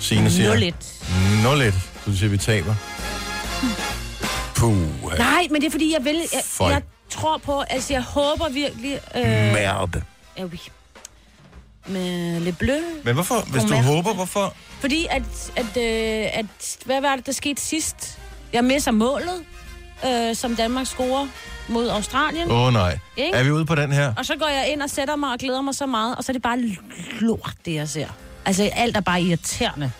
Signe siger 0-1. 0-1. Så siger, vi taber. Hmm. Puh. Nej, men det er fordi, jeg vil... Jeg, Føj. jeg tror på... Altså, jeg håber virkelig... Øh, Merde. ja, oui. Med Le Bleu. Men hvorfor, hvis du Merde. håber, hvorfor Fordi at, at, øh, at... Hvad var det, der skete sidst? Jeg misser målet, øh, som Danmark scorer mod Australien. Åh oh, nej. Ikke? Er vi ude på den her? Og så går jeg ind og sætter mig og glæder mig så meget, og så er det bare lort, det jeg ser. Altså, alt er bare irriterende.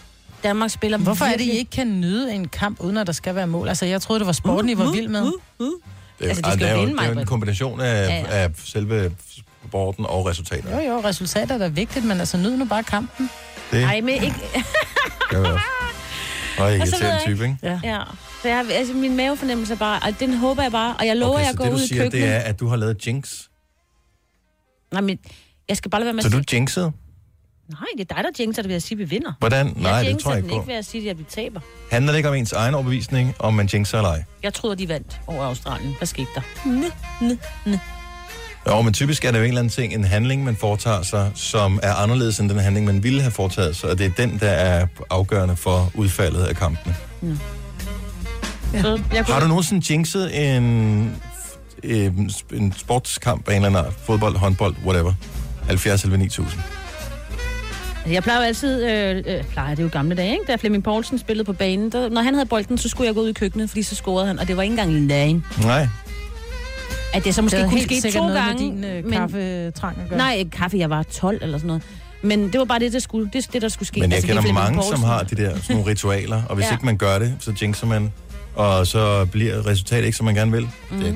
Danmark spiller Hvorfor er det, virkelig- I ikke kan nyde en kamp, uden at der skal være mål? Altså, jeg troede, det var sporten, I var vild med. Det, er- Altså, de ah, skal det, er jo jo, vinde, det er jo en Maj-Brit. kombination af, ja, Ja, ja. af selve sporten og resultaterne. Jo, jo, resultater er da vigtigt, men altså, nyd nu bare kampen. Det Nej, men ikke... kan være. Ej, Og så ved irriterende jeg type, ikke? Ja. Så jeg, altså, min mavefornemmelse er bare... Og den håber jeg bare... Og jeg lover, Okay, okay, jeg så går det ud du i siger, køkkenet. det er, at du har lavet jinx. Nej, men jeg skal bare lade være med Så at du sige... jinxede? Nej, det er dig, der jinxer det ved at sige, at vi vinder. Hvordan? Nej, jeg det tror jeg ikke ikke ikke på. ved at sige, at vi taber. Handler det ikke om ens egen overbevisning, om man jinxer eller ej? Jeg troede, de vandt over Australien. Hvad skete der? Jo, men typisk er det jo en eller anden ting, en handling, man foretager sig, som er anderledes end den handling, man ville have foretaget sig, og det er den, der er afgørende for udfaldet af kampen. Så jeg Har kunne... du nogensinde jinxet en, en, en sportskamp af en eller anden art? Fodbold, håndbold, whatever. 70 eller 9000. Altså, Jeg plejer jo altid, øh, øh, plejer det er jo gamle dage, ikke? da Flemming Poulsen spillede på banen, der, når han havde bolden, så skulle jeg gå ud i køkkenet, fordi så scorede han, og det var ikke engang løgn. Nej. At det så Det måske havde kunne helt ske sikkert to noget gange. med din øh, kaffetrang at gøre. Nej, ikke kaffe, jeg var 12 eller sådan noget. Men det var bare det, der, skulle, det, det, der skulle ske. Altså, Men altså, jeg det er kender Flemming mange, som Poulsen. har de der sådan nogle ritualer, og hvis Ja. ikke man gør det, så jinxer man, og så bliver resultatet ikke, som man gerne vil. Mhm. Mm. Det,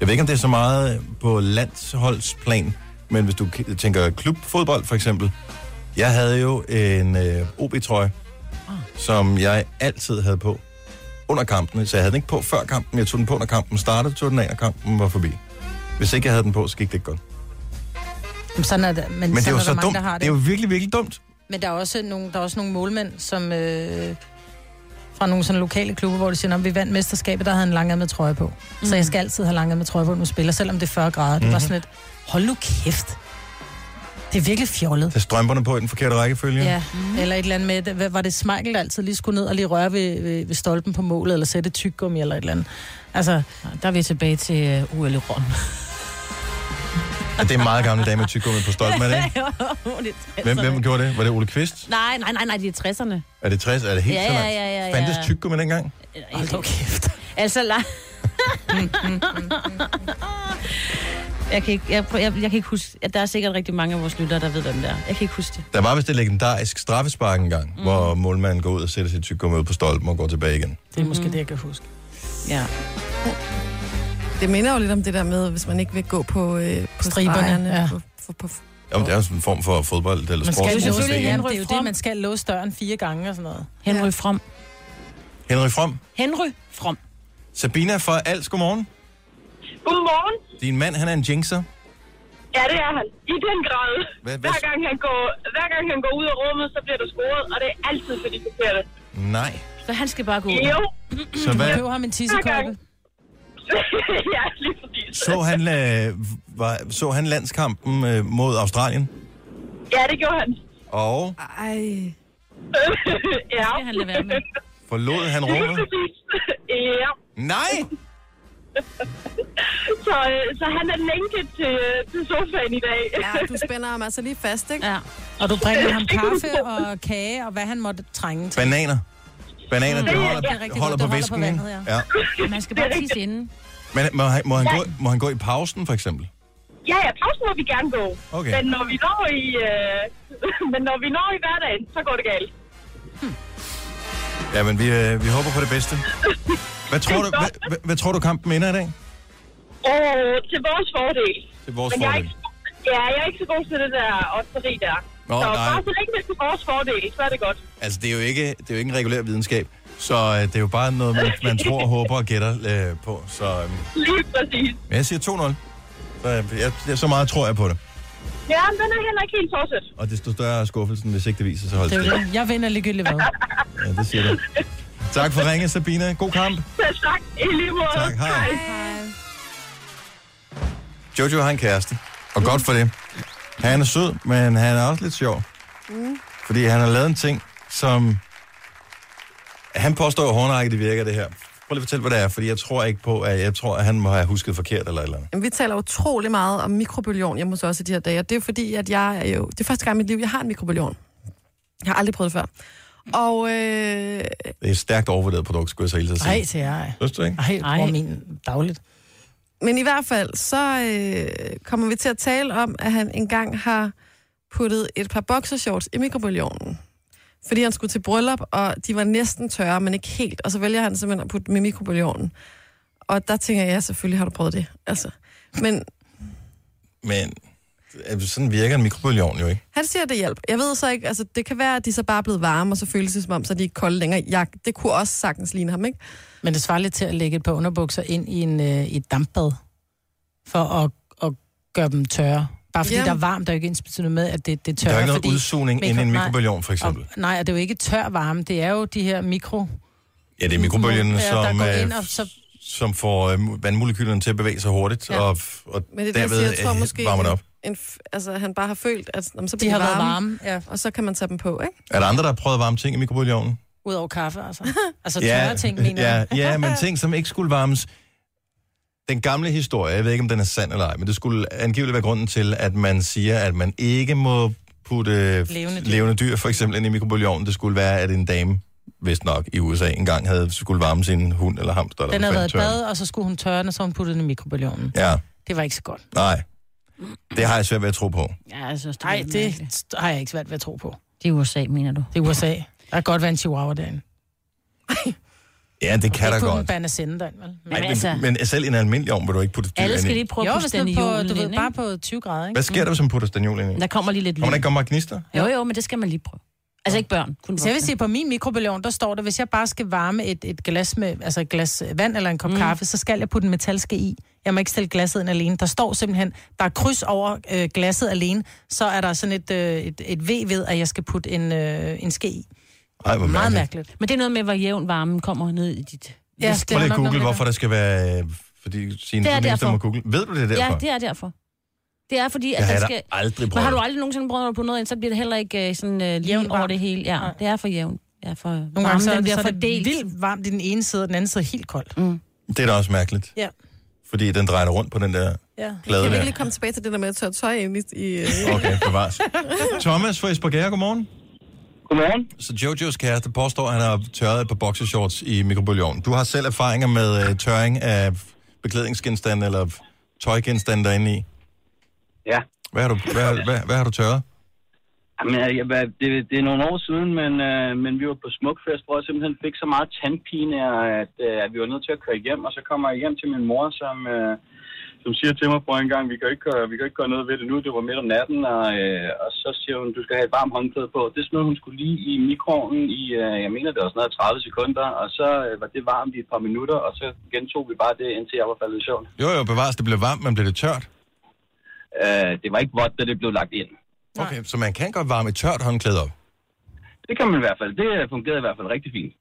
jeg ved ikke, om det er så meget på landsholdsplan, men hvis du k- tænker klubfodbold for eksempel. Jeg havde jo en øh, OB-trøje, Ah. som jeg altid havde på under kampen, så jeg havde den ikke på før kampen, jeg tog den på, når kampen startede, tog den af, når kampen var forbi. Hvis ikke jeg havde den på, så gik det ikke godt. Jamen, Sådan er det, men, Men det er sådan jo er der så mange, dumt. Der har Det det. er jo virkelig, virkelig dumt. Men der er også nogle, der er også nogle målmænd, som øh, fra nogle sådan lokale klubber, hvor de siger, at vi vandt mesterskabet, der havde en langærmet trøje på. Mm. Mhm. Så jeg skal altid have langærmet trøje på, når jeg spiller, selvom det er 40 grader. Mm. Det var sådan et, hold nu kæft. Det er virkelig fjollet. Tag strømperne på i den forkerte rækkefølge. Ja, Mhm. mm. eller et eller andet med, hvad var det Smeichel, der altid lige skulle ned og lige røre ved, ved, ved stolpen på målet, eller sætte et tyggegummi eller et eller andet. Altså, Der er vi tilbage til uh, UL i Rom. Ja, det er en meget gammel dame med tyggegummi på stolpen, er [LAUGHS] det ikke? Hvem, hvem gjorde det? Var det Ole Kvist? Nej, nej, nej, nej, det er 60'erne. Er det 60? Er det helt Ja, så ja, langt? ja, ja, ja. Fandtes tyggegummi dengang? hold nu kæft. Altså, la... [LAUGHS] jeg, kan ikke, jeg, prøv- jeg, jeg kan ikke huske... at Der er sikkert rigtig mange af vores lyttere, der ved, hvem det er. Jeg kan ikke huske det. Der var vist et legendarisk straffespark engang, mm. hvor målmanden går ud og sætter sit tyggegummi ud på stolpen og går tilbage igen. Det er måske [LAUGHS] det, jeg kan huske. Ja. Det minder jo lidt om det der med, hvis man ikke vil gå på, øh, på Striberne, stregerne, ja. På, på, på, Jamen, det er jo sådan en form for fodbold eller Man skal sport. jo Sportsmuseen. selvfølgelig, ja, Selvfølgelig... det er jo det, man skal låse døren fire gange og sådan noget. Henry From. Henry From, Henry From. Sabina fra Als, godmorgen. Godmorgen. Din mand, han er en jinxer. Ja, det er han. I den grad. Hvad- hvad- Hver gang, han går, hver gang han går ud af rummet, så bliver der scoret, og det er altid for de forkerte. Nej. Så han skal bare gå ud. Jo. Så hvad, Køb ham en tissekoppe. [LAUGHS] ja, lige præcis. så, han, øh, var, så han landskampen øh, mod Australien? Ja, det gjorde han. Og ej, [LAUGHS] ja. Det kan han lade være med. forlod han Lige rummet? præcis. [LAUGHS] ja. Nej! [LAUGHS] Så, øh, så han er lænket til, øh, til sofaen i dag. ja, du spænder ham altså lige fast, ikke? Ja. Og du bringer [LAUGHS] ham [LAUGHS] kaffe og kage, og hvad han måtte trænge til. Bananer. Bananer, det det er holder, holder rigtig godt. på Det holder væsken, på ikke? vandet, Ja. Man skal bare tisse inden. Men må han, må, han gå, må han gå i pausen, for eksempel? Ja, ja, pausen må vi gerne gå. Okay. Men når vi når i, øh, [LAUGHS] men når vi når i hverdagen, så går det galt. Ja, men vi, øh, vi håber på det bedste. Hvad tror, du, hvad, hvad, hvad tror du, kampen ender i dag? Og til vores fordel. Til vores Men jeg er fordel. ikke, ja, jeg er ikke så god til det der otteri der. Nå, så nej. bare så længe det er til vores fordel, så er det godt. Altså, det er, jo ikke, det er jo ikke en regulær videnskab, så øh, det er jo bare noget, man, man tror, håber og gætter øh, på. Så øh, Lige præcis. men jeg siger 2-0. Så, øh, jeg, jeg, så meget tror jeg på det. Ja, men den er heller ikke helt tosset. Og desto større er skuffelsen, hvis ikke det viser sig holdt Det er jo stik. det. Jeg vinder ligegyldigt [LAUGHS] hvad. Ja, det siger du. Tak for ringe, Sabina. God kamp. Så tak, i lige måde. Tak, hej. Jojo har en kæreste, og godt for det. Han er sød, men han er også lidt sjov. Mm. Fordi han har lavet en ting, som... Han påstår, at håndrækket virker det her. Prøv lige at fortælle, hvad det er, fordi jeg tror ikke på, at jeg tror, at han må have husket forkert eller et eller andet. Jamen, vi taler utrolig meget om mikrobølgeovn hjemme hos os i de her dage, og det er fordi, at jeg er jo... Det er første gang i mit liv, jeg har en mikrobølgeovn. Jeg har aldrig prøvet det før. Og øh, Det er et stærkt overvurderet produkt, skulle jeg så hilse at Ej, sige. til jeg. Synes du ikke? Ej, jeg bruger min dagligt. Men i hvert fald, så øh, kommer vi til at tale om, at han engang har puttet et par boxershorts i mikrobølgeovnen. Fordi han skulle til bryllup, og de var næsten tørre, men ikke helt. Og så vælger han simpelthen at putte dem i mikrobølgeovnen. Og der tænker jeg, ja, selvfølgelig har du prøvet det. Altså. Men Men øh, sådan virker en mikrobølgeovn jo ikke. han siger, at det hjælper. Jeg ved så ikke, altså det kan være, at de så bare er blevet varme, og så føles det som om, så er de ikke kolde længere. Jeg, det kunne også sagtens ligne ham, ikke? Men det svarer lidt til at lægge et par underbukser ind i, en, øh, i et dampbad, for at, at gøre dem tørre. Bare fordi Jamen. Jamen. der er varmt, der er jo ikke ens betydende med, at det, det Der tørrer. er jo ikke noget fordi udsugning inde i en mikro- nej. mikrobølgeovn, for eksempel. Og, nej, og det er jo ikke tør varme, det er jo de her mikro... Ja, det er mikrobølgen, Ja, der som, går øh, ind, og så- som får øh, vandmolekylerne til at bevæge sig hurtigt, ja. Ja. og, og Men det er det, jeg derved siger, jeg tror øh, måske... varmer det op. En, f- altså, han bare har følt, at jamen, så De bliver har de været varme, varme. Ja. og så kan man tage dem på, ikke? Er der andre, der har prøvet at varme ting i mikrobølgeovnen? Udover kaffe, [LAUGHS] altså. Altså tørre ting, mener ja, jeg. ja, [LAUGHS] men ting, som ikke skulle varmes. Den gamle historie, jeg ved ikke, om den er sand eller ej, men det skulle angiveligt være grunden til, at man siger, at man ikke må putte Levende levende dyr. dyr, levende dyr for eksempel ind i mikrobølgeovnen. Det skulle være, at en dame, vist nok i USA, engang havde skulle varme sin hund eller hamster. eller Den havde hvad været i fanden bad, og så skulle hun tørre den, og så hun puttede den i mikrobølgeovnen. tør- Ja, Det var ikke så godt. nej. Det har jeg svært ved at tro på. Ja, jeg synes, det Nej, er det mærkeligt. har jeg ikke svært ved at tro på. Det er USA, mener du? Det er USA. Der kan godt være en chihuahua derinde. Ja, det kan da ikke på den godt. bane sende derinde, vel? Men, Ej, men, altså- men selv i en almindelig ovn vil du ikke putte dyr Alle ind skal i. lige prøve jo, at hvis putte den den i på, julen du ved, ind, bare på 20 grader, ikke? Hvad sker der, hvis man putter stanjol ind i? ikke? Der kommer lige lidt Kommer der lyd. ikke godt gnister? Jo, jo, men det skal man lige prøve. Altså ikke børn, kun Så jeg vil voksne. sige, på min mikrobølgeovn, der står der, hvis jeg bare skal varme et, et glas med, altså et glas vand eller en kop mm. kaffe, så skal jeg putte en metalske i. Jeg må ikke stille glasset ind alene. Der står simpelthen, der er kryds over øh, glasset alene, så er der sådan et, øh, et, et V ved, at jeg skal putte en, øh, en ske i. Ej, hvor Meget mærkeligt. mærkeligt. Men det er noget med, hvor jævn varmen kommer ned i dit... Ja, Prøv er lige at nok noget google, med hvorfor der skal være... øh, Fordi Signe, Det er du næste derfor. må google. Ved du det er derfor? Ja, det er derfor. Det er fordi, jeg at har den da skal... aldrig prøvet. Men har du det. aldrig nogensinde prøvet på noget andet, så bliver det heller ikke øh, sådan øh, lige Jævn over varm. det hele. Ja, Nej. det er for jævn. Ja, for Nogle gange, så, den så bliver er det fordelt. vildt varmt i den ene side, og den anden side er helt koldt. Mm. det er da også mærkeligt. Ja. Fordi den drejer rundt på den der Ja. plade Kan vi ikke der. lige komme tilbage til det der med at tørre tøj ind i... i øh, [LAUGHS] Okay, bevares. Thomas fra Esbjerg, godmorgen. Godmorgen. Så Jojos kæreste påstår, at han har tørret et par boxershorts i mikrobølgeovnen. Du har selv erfaringer med øh, tørring af beklædningsgenstande eller tøjgenstande derinde i. Ja. Hvad har du, hvad, har- hvad, hvad har du tørret? Jamen, jeg, jeg, øh, det, det er nogle år siden, men, øh, men vi var på smukfest, hvor jeg simpelthen fik så meget tandpine, at, øh, at vi var nødt til at køre hjem. Og så kommer jeg hjem til min mor, som, øh, som siger til mig på en gang, vi kan, ikke, gøre- vi kan ikke gøre noget ved det nu, det var midt om natten. Og, øh, og så siger hun, du skal have et varmt håndklæde på. Det smed hun skulle lige i mikroovnen i, øh, jeg mener det var sådan noget 30 sekunder, og så øh, var det varmt i et par minutter, og så gentog vi bare det, indtil jeg var faldet i søvn. Jo, jo, bevares, det blev varmt, men blev det tørt? Øh, det var ikke vådt, da det blev lagt ind. Okay, så man kan godt varme et tørt håndklæde op. Det kan man i hvert fald. Det øh, fungerede i hvert fald rigtig fint.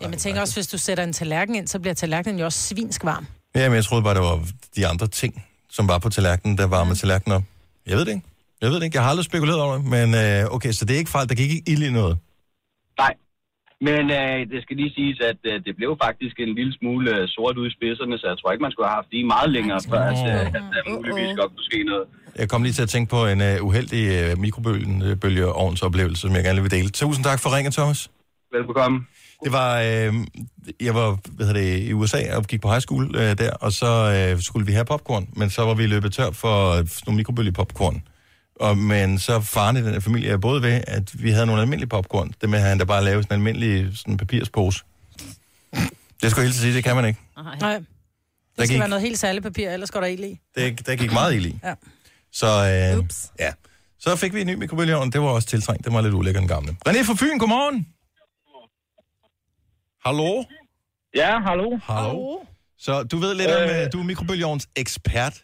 Jamen, jeg tænker også, hvis du sætter en tallerken ind, så bliver tallerkenen jo også svinsk varm. Ja, men jeg troede bare, det var de andre ting, som var på tallerkenen, der varmede tallerkenen op. Jeg ved det ikke. Jeg ved det ikke. Jeg har aldrig spekuleret over det. Men øh, okay, så det er ikke fejl. Der gik ikke ild i noget. Nej. Men øh, det skal lige siges, at øh, det blev faktisk en lille smule øh, sort ud i spidserne, så jeg tror ikke, man skulle have haft de meget længere, før at, øh, at der muligvis godt kunne ske noget. Jeg kom lige til at tænke på en øh, uheldig øh, mikrobølgeovnsoplevelse, som jeg gerne vil dele. Tusind tak for ringen, Thomas. Velbekomme. Det var, øh, jeg var hvad hedder det, i USA og gik på high school øh, der, og så øh, skulle vi have popcorn, men så var vi løbet tør for øh, sådan nogle mikrobølgepopcorn. Og, men så faren i den her familie er både ved, at vi havde nogle almindelige popcorn, det med at han der bare lavede sådan en almindelig sådan papirspose. Det skulle jeg hilse at sige, det kan man ikke. Nej. Det Der skal gik, være noget helt særligt papir, ellers går der ild i. det, der gik meget ild i. Ja. Så, øh, Ups. ja. så fik vi en ny mikrobølgeovn, det var også tiltrængt, det var lidt ulækker den gamle. René fra Fyn, godmorgen! Hallo? Ja, hallo. Hallo. Så du ved lidt om, Øh. øh, du er mikrobølgeovns ekspert.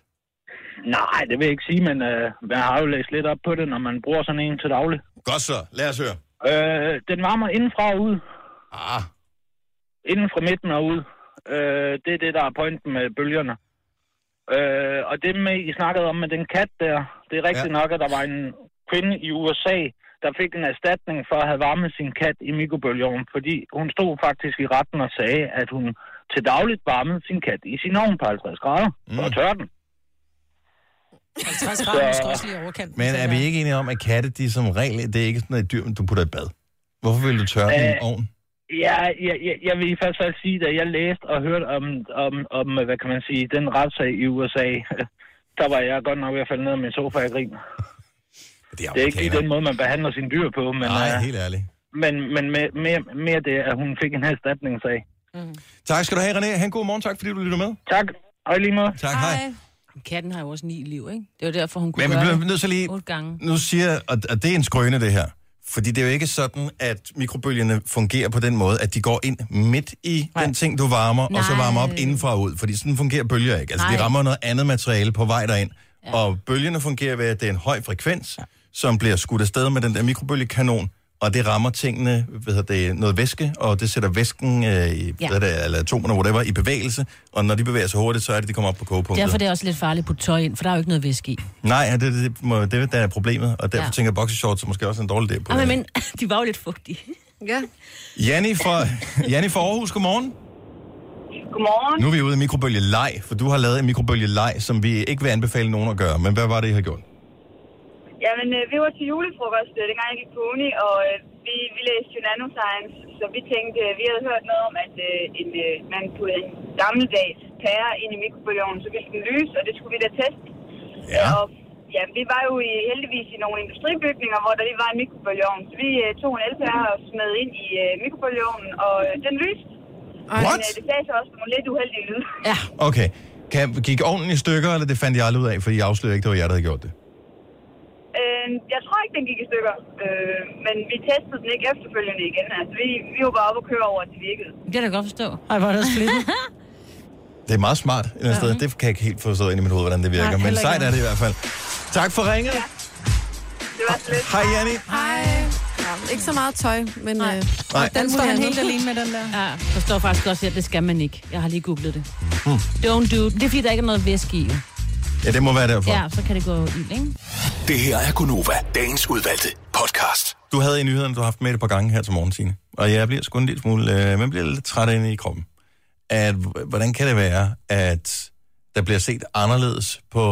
Nej, det vil jeg ikke sige, men øh, jeg har jo læst lidt op på det, når man bruger sådan en til daglig. Godt så, lad os høre. Øh, den varmer indenfra og ud. Ah, inden fra midten og ud. Øh, det er det, der er pointen med bølgerne. Øh, og det med, I snakkede om med den kat der, det er rigtigt ja. nok, at der var en kvinde i USA, der fik en erstatning for at have varmet sin kat i mikrobølgeovnen, fordi hun stod faktisk i retten og sagde, at hun til dagligt varmede sin kat i sin ovn på 50 grader mm. og tørte den. 50 grader, måske også lige overkant. men er vi ikke enige om, at katte, de er som regel, det er ikke sådan et dyr, du putter i bad? Hvorfor vil du tørre øh. Øh. en ovn? Ja, jeg, jeg, jeg vil i hvert fald sige, da jeg læste og hørte om, om, om, hvad kan man sige, den retssag i USA, [LAUGHS] der var jeg godt nok ved at falde ned af min sofa og grine. Det er, Det er ikke lige den måde, man behandler sine dyr på, men, Nej, øh, helt ærligt. men, men mere, mere, mere det, at hun fik en erstatningssag. Mm. Tak skal du have, René. Han god morgen. Tak, fordi du lytter med. Tak, og i lige måde. Tak, hej. hej. Katten har jo også ni liv, ikke? Det var derfor, hun kunne Men vi gøre bliver det nødt til lige... otte gange. Nu siger og, og det er en skrøne, det her. Fordi det er jo ikke sådan, at mikrobølgerne fungerer på den måde, at de går ind midt i Nej. den ting, du varmer, Nej. og så Nej. varmer op indenfra og ud. Fordi sådan fungerer bølger ikke. Altså, Nej. de Nej. rammer noget andet materiale på vej derind. Ja. Og bølgerne fungerer ved, at det er en høj frekvens, ja. som bliver skudt afsted med den der mikrobølgekanon, og det rammer tingene, hvad hedder det, noget væske, og det sætter væsken, øh, i, ja. hvad hedder det, eller atomerne, whatever, i bevægelse. Og når de bevæger sig hurtigt, så er det, de kommer op på kogepunktet. Derfor er det også lidt farligt at putte tøj ind, for der er jo ikke noget væske i. Nej, det, det, det, må, det er der er problemet, og derfor ja. Ja. [LAUGHS] tænker jeg, at boxershorts er måske også en dårlig idé på Ah, det. men, men de var jo lidt fugtige. Ja. Janni fra, [LAUGHS] Janni fra Aarhus, godmorgen. Godmorgen. Nu er vi ude i mikrobølgelej, for du har lavet en mikrobølgelej, som vi ikke vil anbefale nogen at gøre. Men hvad var det, I har gjort? Jamen, øh, vi var til julefrokost, øh, dengang jeg gik på uni, og øh, vi, vi læste jo nanoscience, så vi tænkte, øh, vi havde hørt noget om, at øh, en, øh, man puttede en gammeldags pære ind i mikrobølgeovnen, så ville den lyse, og det skulle vi da teste. Ja. Og ja, vi var jo i, heldigvis i nogle industribygninger, hvor der lige var en mikrobølgeovn, så vi øh, tog en elpære og smed ind i øh, mikrobølgeovnen, og øh, den lyste. Men What? øh, det sagde så også nogle lidt uheldige lyde. Ja. Okay. Kan, gik ovnen i stykker, eller det fandt jeg aldrig ud af, for I afslørede ikke, det var jer, der havde gjort det? Øh, jeg tror ikke, den gik i stykker, øh, men vi testede den ikke efterfølgende igen. Altså, vi, vi var bare oppe og køre over, at det virkede. Det kan jeg da godt forstå. Ej, hvor er det splittet. Det er meget smart et eller andet sted. Det kan jeg ikke helt forstå ind i mit hoved, hvordan det virker. Nej, Nej, men heller ikke sejt er jeg. det i hvert fald. Tak for ringet. Det var så lidt. Hej, Janni. Hej. Ja, ikke så meget tøj, men... Nej. Øh, Nej. Den står han Mulig helt andet. alene med, den der. Ja, jeg forstår faktisk også, at det skal man ikke. Jeg har lige googlet det. Don't do it. Det er fordi, der ikke er noget væske i. jo. Hm. Ja, det må være derfor. Ja, så kan det gå ild, ikke? Det her er Gunova, dagens udvalgte podcast. Du havde i nyhederne, du har haft med et par gange her til morgen, Signe. Og jeg bliver sgu en lille smule, øh, man bliver lidt træt inde i kroppen. At, h- hvordan kan det være, at der bliver set anderledes på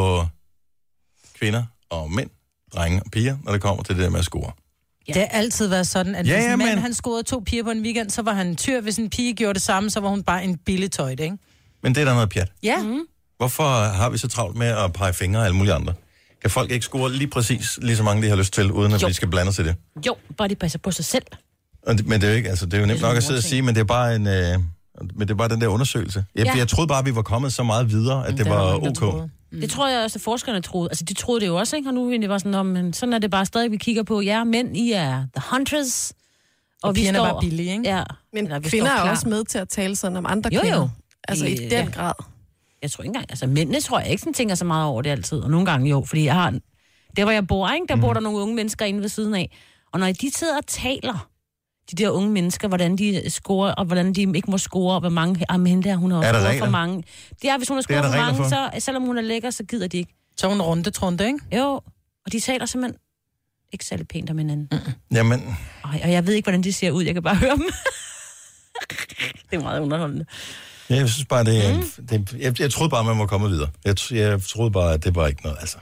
kvinder og mænd, drenge og piger, når det kommer til det der med at score? Ja. Det har altid været sådan, at Ja, ja, hvis ja, en mand men- han scorede to piger på en weekend, så var han en tyr. Hvis en pige gjorde det samme, så var hun bare en billig tøjt, ikke? Men det er der noget pjat. Ja. Mm. Hvorfor har vi så travlt med at pege fingre af alle mulige andre? Kan folk ikke score lige præcis lige så mange, de har lyst til, uden at jo. Jo. vi skal blande os i det? Jo, bare de passer på sig selv. Og det- Men det er jo ikke, altså, det er jo nemt sådan nok at en sidde og ordting. sige, men det er bare en... Øh, men det er bare den der undersøgelse. Jeg, ja. Ja. jeg troede bare, vi var kommet så meget videre, at det, der var mange, der ok. troede. Mm. Det tror jeg også, at forskerne troede. Altså, de troede det jo også, ikke? Og nu er det bare sådan, om, men sådan er det bare stadig, vi kigger på. Ja, mænd, I er the hunters. Og, og pigerne er bare billige, ikke? Ja. Men Eller vi kvinder står er klar. også med til at tale sådan om andre Jo, jo. kvinder. Altså i Øh, den ja. grad. Jeg tror ikke engang, altså mændene tror jeg ikke, sådan tænker så meget over det altid. Og nogle gange jo, fordi jeg har... en- Der, hvor jeg bor, ikke? Der Mhm. bor der nogle unge mennesker inde ved siden af. Og når de sidder og taler, de der unge mennesker, hvordan de scorer, og hvordan de ikke må score, og hvor mange... Ah, men hende der, hun har Er der scoret regler? for mange. Det er, hvis hun har er scoret der for mange, regler så selvom hun er lækker, så gider de ikke. Så hun runde trunde, ikke? Jo, og de taler simpelthen ikke særlig pænt om hinanden. Jamen, Ej, og jeg ved ikke, hvordan de ser ud. Jeg kan bare høre dem. [LAUGHS] det er meget underholdende. ja, jeg synes bare, det, mm. det jeg, jeg troede bare, man var kommet videre. Jeg, tr- jeg troede bare, at det var ikke noget, altså.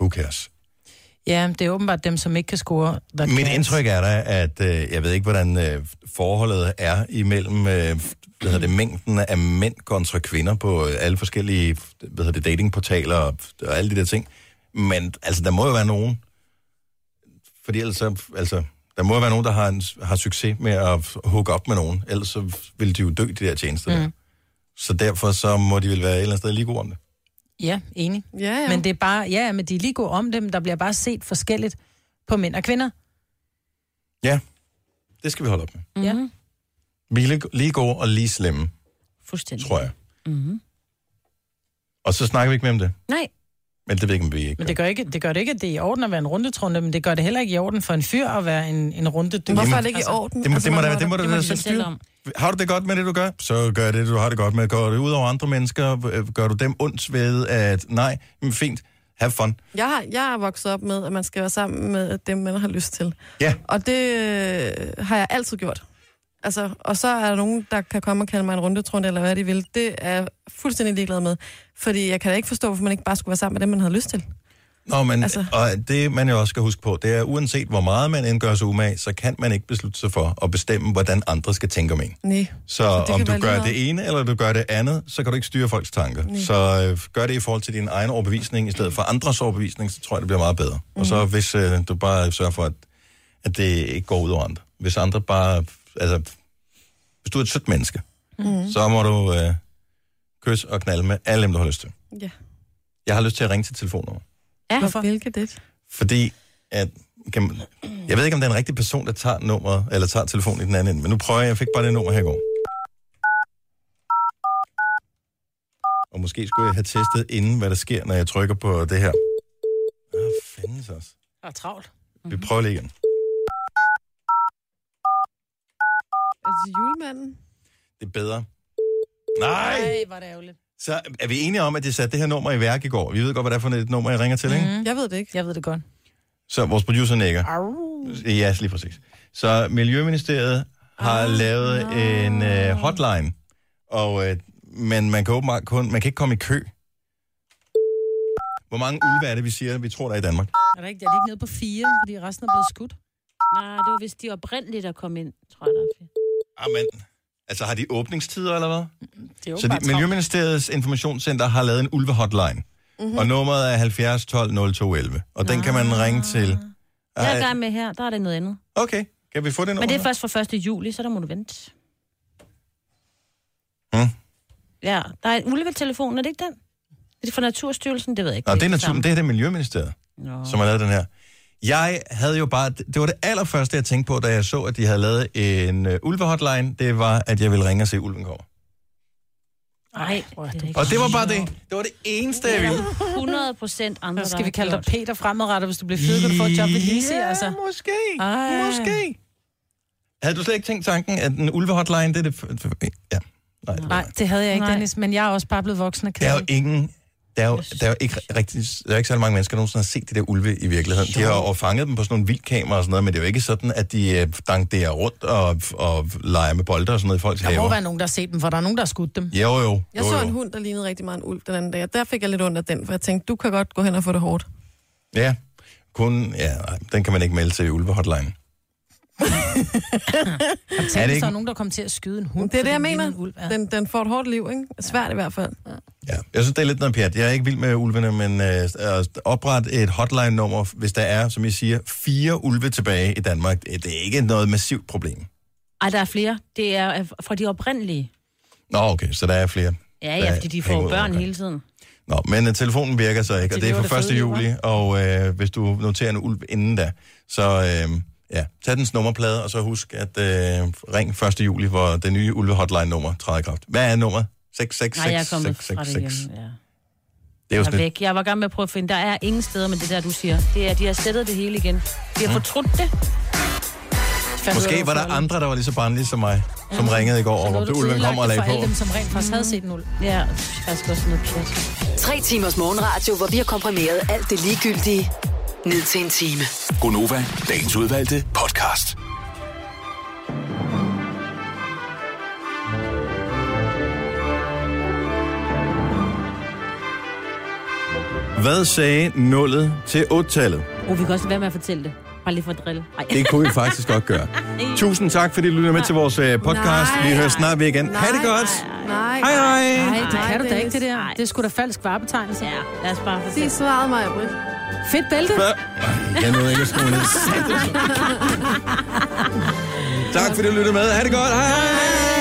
Who cares? Ja, det er åbenbart dem, som ikke kan score. der Mit kan. indtryk er da, at øh, jeg ved ikke, hvordan øh, forholdet er imellem øh, hvad hedder det, mængden af mænd kontra kvinder på øh, alle forskellige hvad hedder det, datingportaler og, og alle de der ting. Men altså, der må jo være nogen, fordi ellers så, altså, der må jo være nogen, der har, en, har succes med at hook op med nogen. Ellers så vil de jo dø, de der tjenester. Mm. Så derfor så må de vel være et eller andet sted lige gode om det. Ja, enig. Ja, ja. Ja. Men det er bare, ja, men de er lige gode om dem. Der bliver bare set forskelligt på mænd og kvinder. Ja, det skal vi holde op med. Mm-hmm. Ja. Vi er lige- lige gode og lige slemme. Fuldstændig. tror jeg. Mm-hmm. Mhm. Og så snakker vi ikke mere om det. Nej, Men det ved jeg ikke, om vi ikke gør. Men det gør, ikke, det gør det ikke, at det er i orden at være en rundetrunde, men det gør det heller ikke i orden for en fyr at være en, en rundedyr. Hvorfor er det ikke i orden? Altså, Det Altså, må, det må, man da- har det må, det det må må da de selv selv styre. om. Har du det godt med det, du gør? Så gør det, du har det godt med. Går det ud over andre mennesker? Øh, Gør du dem ondt ved, at nej, men fint, have fun. Jeg, har, jeg er vokset op med, at man skal være sammen med dem, man har lyst til. Ja. Og det øh, har jeg altid gjort. Altså, og så er der nogen, der kan komme og kalde mig en rundetrunde, eller hvad de vil. Det er jeg fuldstændig ligeglad med. Fordi jeg kan da ikke forstå, hvorfor man ikke bare skulle være sammen med dem, man havde lyst til. Nå, men altså. Altså. og det man jo også skal huske på, det er, uanset hvor meget man end gør sig umage, så kan man ikke beslutte sig for at bestemme, hvordan andre skal tænke om en. Nej. Så altså, det om kan du være lige gør meget. det ene eller du gør det andet, så kan du ikke styre folks tanker. Mm. Så øh, gør det i forhold til din egen overbevisning, i stedet for andres overbevisning, så tror jeg, det bliver meget bedre. Mm. Og så hvis øh, du bare sørger for, at, at det ikke går ud over andre. Hvis andre bare... Altså, hvis du er et sødt menneske, mm. så må du øh, kysse og knalde med alle dem, du har lyst til. Ja. Jeg har lyst til at ringe til telefonnummer. Ja. Hvorfor? Hvilket det? Fordi at... Kan man, jeg ved ikke, om det er en rigtig person, der tager nummeret, eller tager telefonen i den anden ende, men nu prøver jeg. Jeg fik bare det nummer her i går. Og måske skulle jeg have testet inden, hvad der sker, når jeg trykker på det her. Hvad fanden så også? Der er Ah, travlt. Vi prøver lige igen. Er det til Altså, julemanden? Det er bedre. Nej! Ej, var det ærgerligt. Så er Mhm. vi enige om, at de satte det her nummer i værk i går. Vi ved godt, hvad det er for et nummer, jeg ringer til, ikke? Jeg ved det ikke. Jeg ved det godt. Så vores producer nikker. Ja, lige præcis. Så Miljøministeriet har lavet en øh, hotline, og, øh, men man kan åbenbart kun, man kan ikke komme i kø. Hvor mange ulve er det, vi siger, vi tror, der er i Danmark? Er der ikke, er de ikke nede på fire, fordi resten er blevet skudt? Nej, det var vist de oprindeligt, der kom ind, tror jeg. Der. Ah, Amen. Altså, har de åbningstider, eller hvad? Det er jo Så de, Miljøministeriets informationscenter har lavet en ulvehotline. Mhm. Mhm. Mm-hmm. Og nummeret er 70 12 02 11. Og den kan man ringe til. Jeg er i Ej, Ah. gang med her, der er det noget andet. Okay, kan vi få det nummer? Men det er først fra 1. juli, så der må du vente. Hmm. Ja, der er en ulvetelefon, er det ikke den? Er det fra Naturstyrelsen? Det ved jeg ikke. Nå, det er, natur, samme. det er det Miljøministeriet, Nå. som har lavet den her. Jeg havde jo bare... Det var det allerførste, jeg tænkte på, da jeg så, at de havde lavet en uh, ulvehotline. Det var, at jeg ville ringe og se, at ulven kommer. Nej, det er ikke. Og det var bare det. Det var det eneste, jeg ville. 100 procent andre, Så der skal vi har kalde dig gjort. Peter fremadrettet, hvis du bliver fyret, kan du få et job ved Lise, ja, altså. måske. Ej. Måske. Havde du slet ikke tænkt tanken, at en ulvehotline, det er det... f- f- Ja. Nej, det var- Nej, det havde jeg ikke, Nej. Dennis, men jeg er også bare blevet voksen og Der er kedelig. jo ingen... Der er jo, der er jo ikke rigtig, der er ikke særlig mange mennesker, der nogensinde har set de der ulve i virkeligheden. De har jo fanget dem på sådan nogle vildkameraer og sådan noget, men det er jo ikke sådan, at de øh, danderer rundt og, og leger med bolde og sådan noget i folks Der må haver. være nogen, der har set dem, for der er nogen, der har skudt dem. Ja, jo, jo. Jeg jo, så jo. en hund, der lignede rigtig meget en ulv den anden dag, og der fik jeg lidt ondt af den, for jeg tænkte, du kan godt gå hen og få det [LAUGHS] hårdt. Ja, kun... Ja, nej, den kan man ikke melde til ulvehotline. Tænk, Er det hvis ikke- der er nogen, der kommer til at skyde en hund. Det er fordi det, jeg den ligner mener. en ulv, ja. Den, den får et hårdt liv, ikke? Svært i hvert fald. Ja, jeg synes, det er lidt noget pjat. Jeg er ikke vild med ulvene, men øh, at oprette et hotline-nummer, hvis der er, som I siger, fire ulve tilbage i Danmark, øh, det det er ikke noget massivt problem. Ej, der er flere. Det er øh, fra de oprindelige. Nå, okay, så der er flere. Ja, Der ja, fordi de hænger får ud jo børn rundtomkring. hele tiden. Nå, men uh, telefonen virker så ikke, og Det det er var fra det 1. fede, juli, og øh, hvis du noterer en ulv inden da, så øh, ja, tag dens nummerplade, og så husk at øh, ring 1. juli, hvor det nye ulve-hotline-nummer træder i kraft. Hvad er nummeret? Nej, jeg er kommet fra det 66666. igen. Ja. Det er jo Jeg er sådan lidt, væk. Jeg var i gang med at prøve at finde. Der er ingen steder med det der, du siger. Det er, de har sættet det hele igen. De Mm. har fortrudt det. Fandt ud af, Måske var der hvorfor. andre, der var lige så barnlige som mig, som ringede i går, og Noget, råbte du ulven ødelagde kom og lagde for alle på. dem, som rent faktisk havde set en ulv. Ja, det er faktisk også noget pjat. Tre timers morgenradio, hvor vi har komprimeret alt det ligegyldige ned til en time. Gonova, dagens udvalgte podcast. Hvad sagde nullet til 8-tallet? Oh, vi kan også lade være med at fortælle det. Bare lige for at drille. Ej. Det kunne I faktisk godt gøre. Tusind tak, fordi du lytter med til vores øh, podcast. Nej, Vi hører nej. snart ved igen. Ha' det godt! Nej, Hej hej! Nej, det kan du da Dennis. ikke, det der. Det er sgu da falsk varebetegnelse. Ja, lad os bare fortælle. Sig svaret mig, Britt. Fedt bælte. Hvad? Ej, Jeg nåede ikke at skrue [LAUGHS] ned. tak fordi du lyttede med. Ha' det godt. Hej. hej.